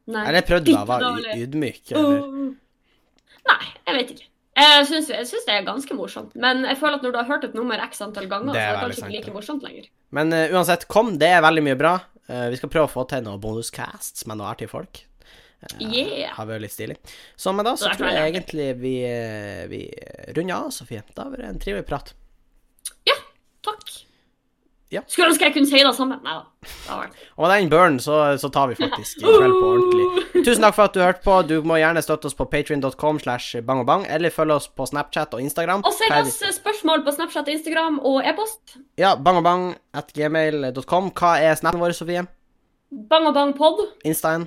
Speaker 1: Nei.
Speaker 2: Eller jeg prøvde da å være
Speaker 1: Bitte dårlig.
Speaker 2: y- ydmyk, eller?
Speaker 1: Uh, Nei, jeg vet ikke. Jeg syns, jeg syns det er ganske morsomt, men jeg føler at når du har hørt et nummer x antall ganger, så
Speaker 2: Det
Speaker 1: er
Speaker 2: er
Speaker 1: det
Speaker 2: veldig
Speaker 1: kanskje
Speaker 2: sant,
Speaker 1: ikke
Speaker 2: det.
Speaker 1: like morsomt lenger.
Speaker 2: Men eh, uansett, kom. Det er veldig mye bra. Eh, vi skal prøve å få til noen bonuscasts med noe artige folk.
Speaker 1: Yeah!
Speaker 2: Har vært litt stilig. Så med da, så
Speaker 1: Det er
Speaker 2: tror jeg
Speaker 1: veldig
Speaker 2: egentlig vi, eh, vi runder av, Sofie. Det har vært en trivelig prat.
Speaker 1: Ja, takk.
Speaker 2: Ja.
Speaker 1: Skulle ønske jeg kunne si det samme. Nei da.
Speaker 2: Og med den burnen så, så tar vi faktisk i kveld på
Speaker 1: Oh!
Speaker 2: ordentlig. Tusen takk for at du hørte på. Du må gjerne støtte oss på patreon.com slash bangobang, eller følge oss på Snapchat og Instagram.
Speaker 1: Og send
Speaker 2: Her-
Speaker 1: oss spørsmål på Snapchat, Instagram og e-post.
Speaker 2: Ja, bangobang at gmail.com. Hva er snappen vår, Sofie?
Speaker 1: Bang og bang pod.
Speaker 2: Instaen?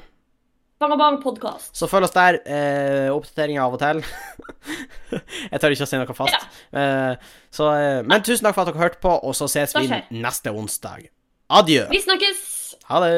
Speaker 1: Bangabang podkast.
Speaker 2: Så følg oss der. Eh, Oppdateringer av og til. jeg tør ikke å si noe fast. Eh, så, eh, men tusen takk for at dere hørte på, og så ses
Speaker 1: Da
Speaker 2: vi
Speaker 1: skjer.
Speaker 2: neste onsdag. Adjø.
Speaker 1: Vi snakkes!
Speaker 2: Ha det.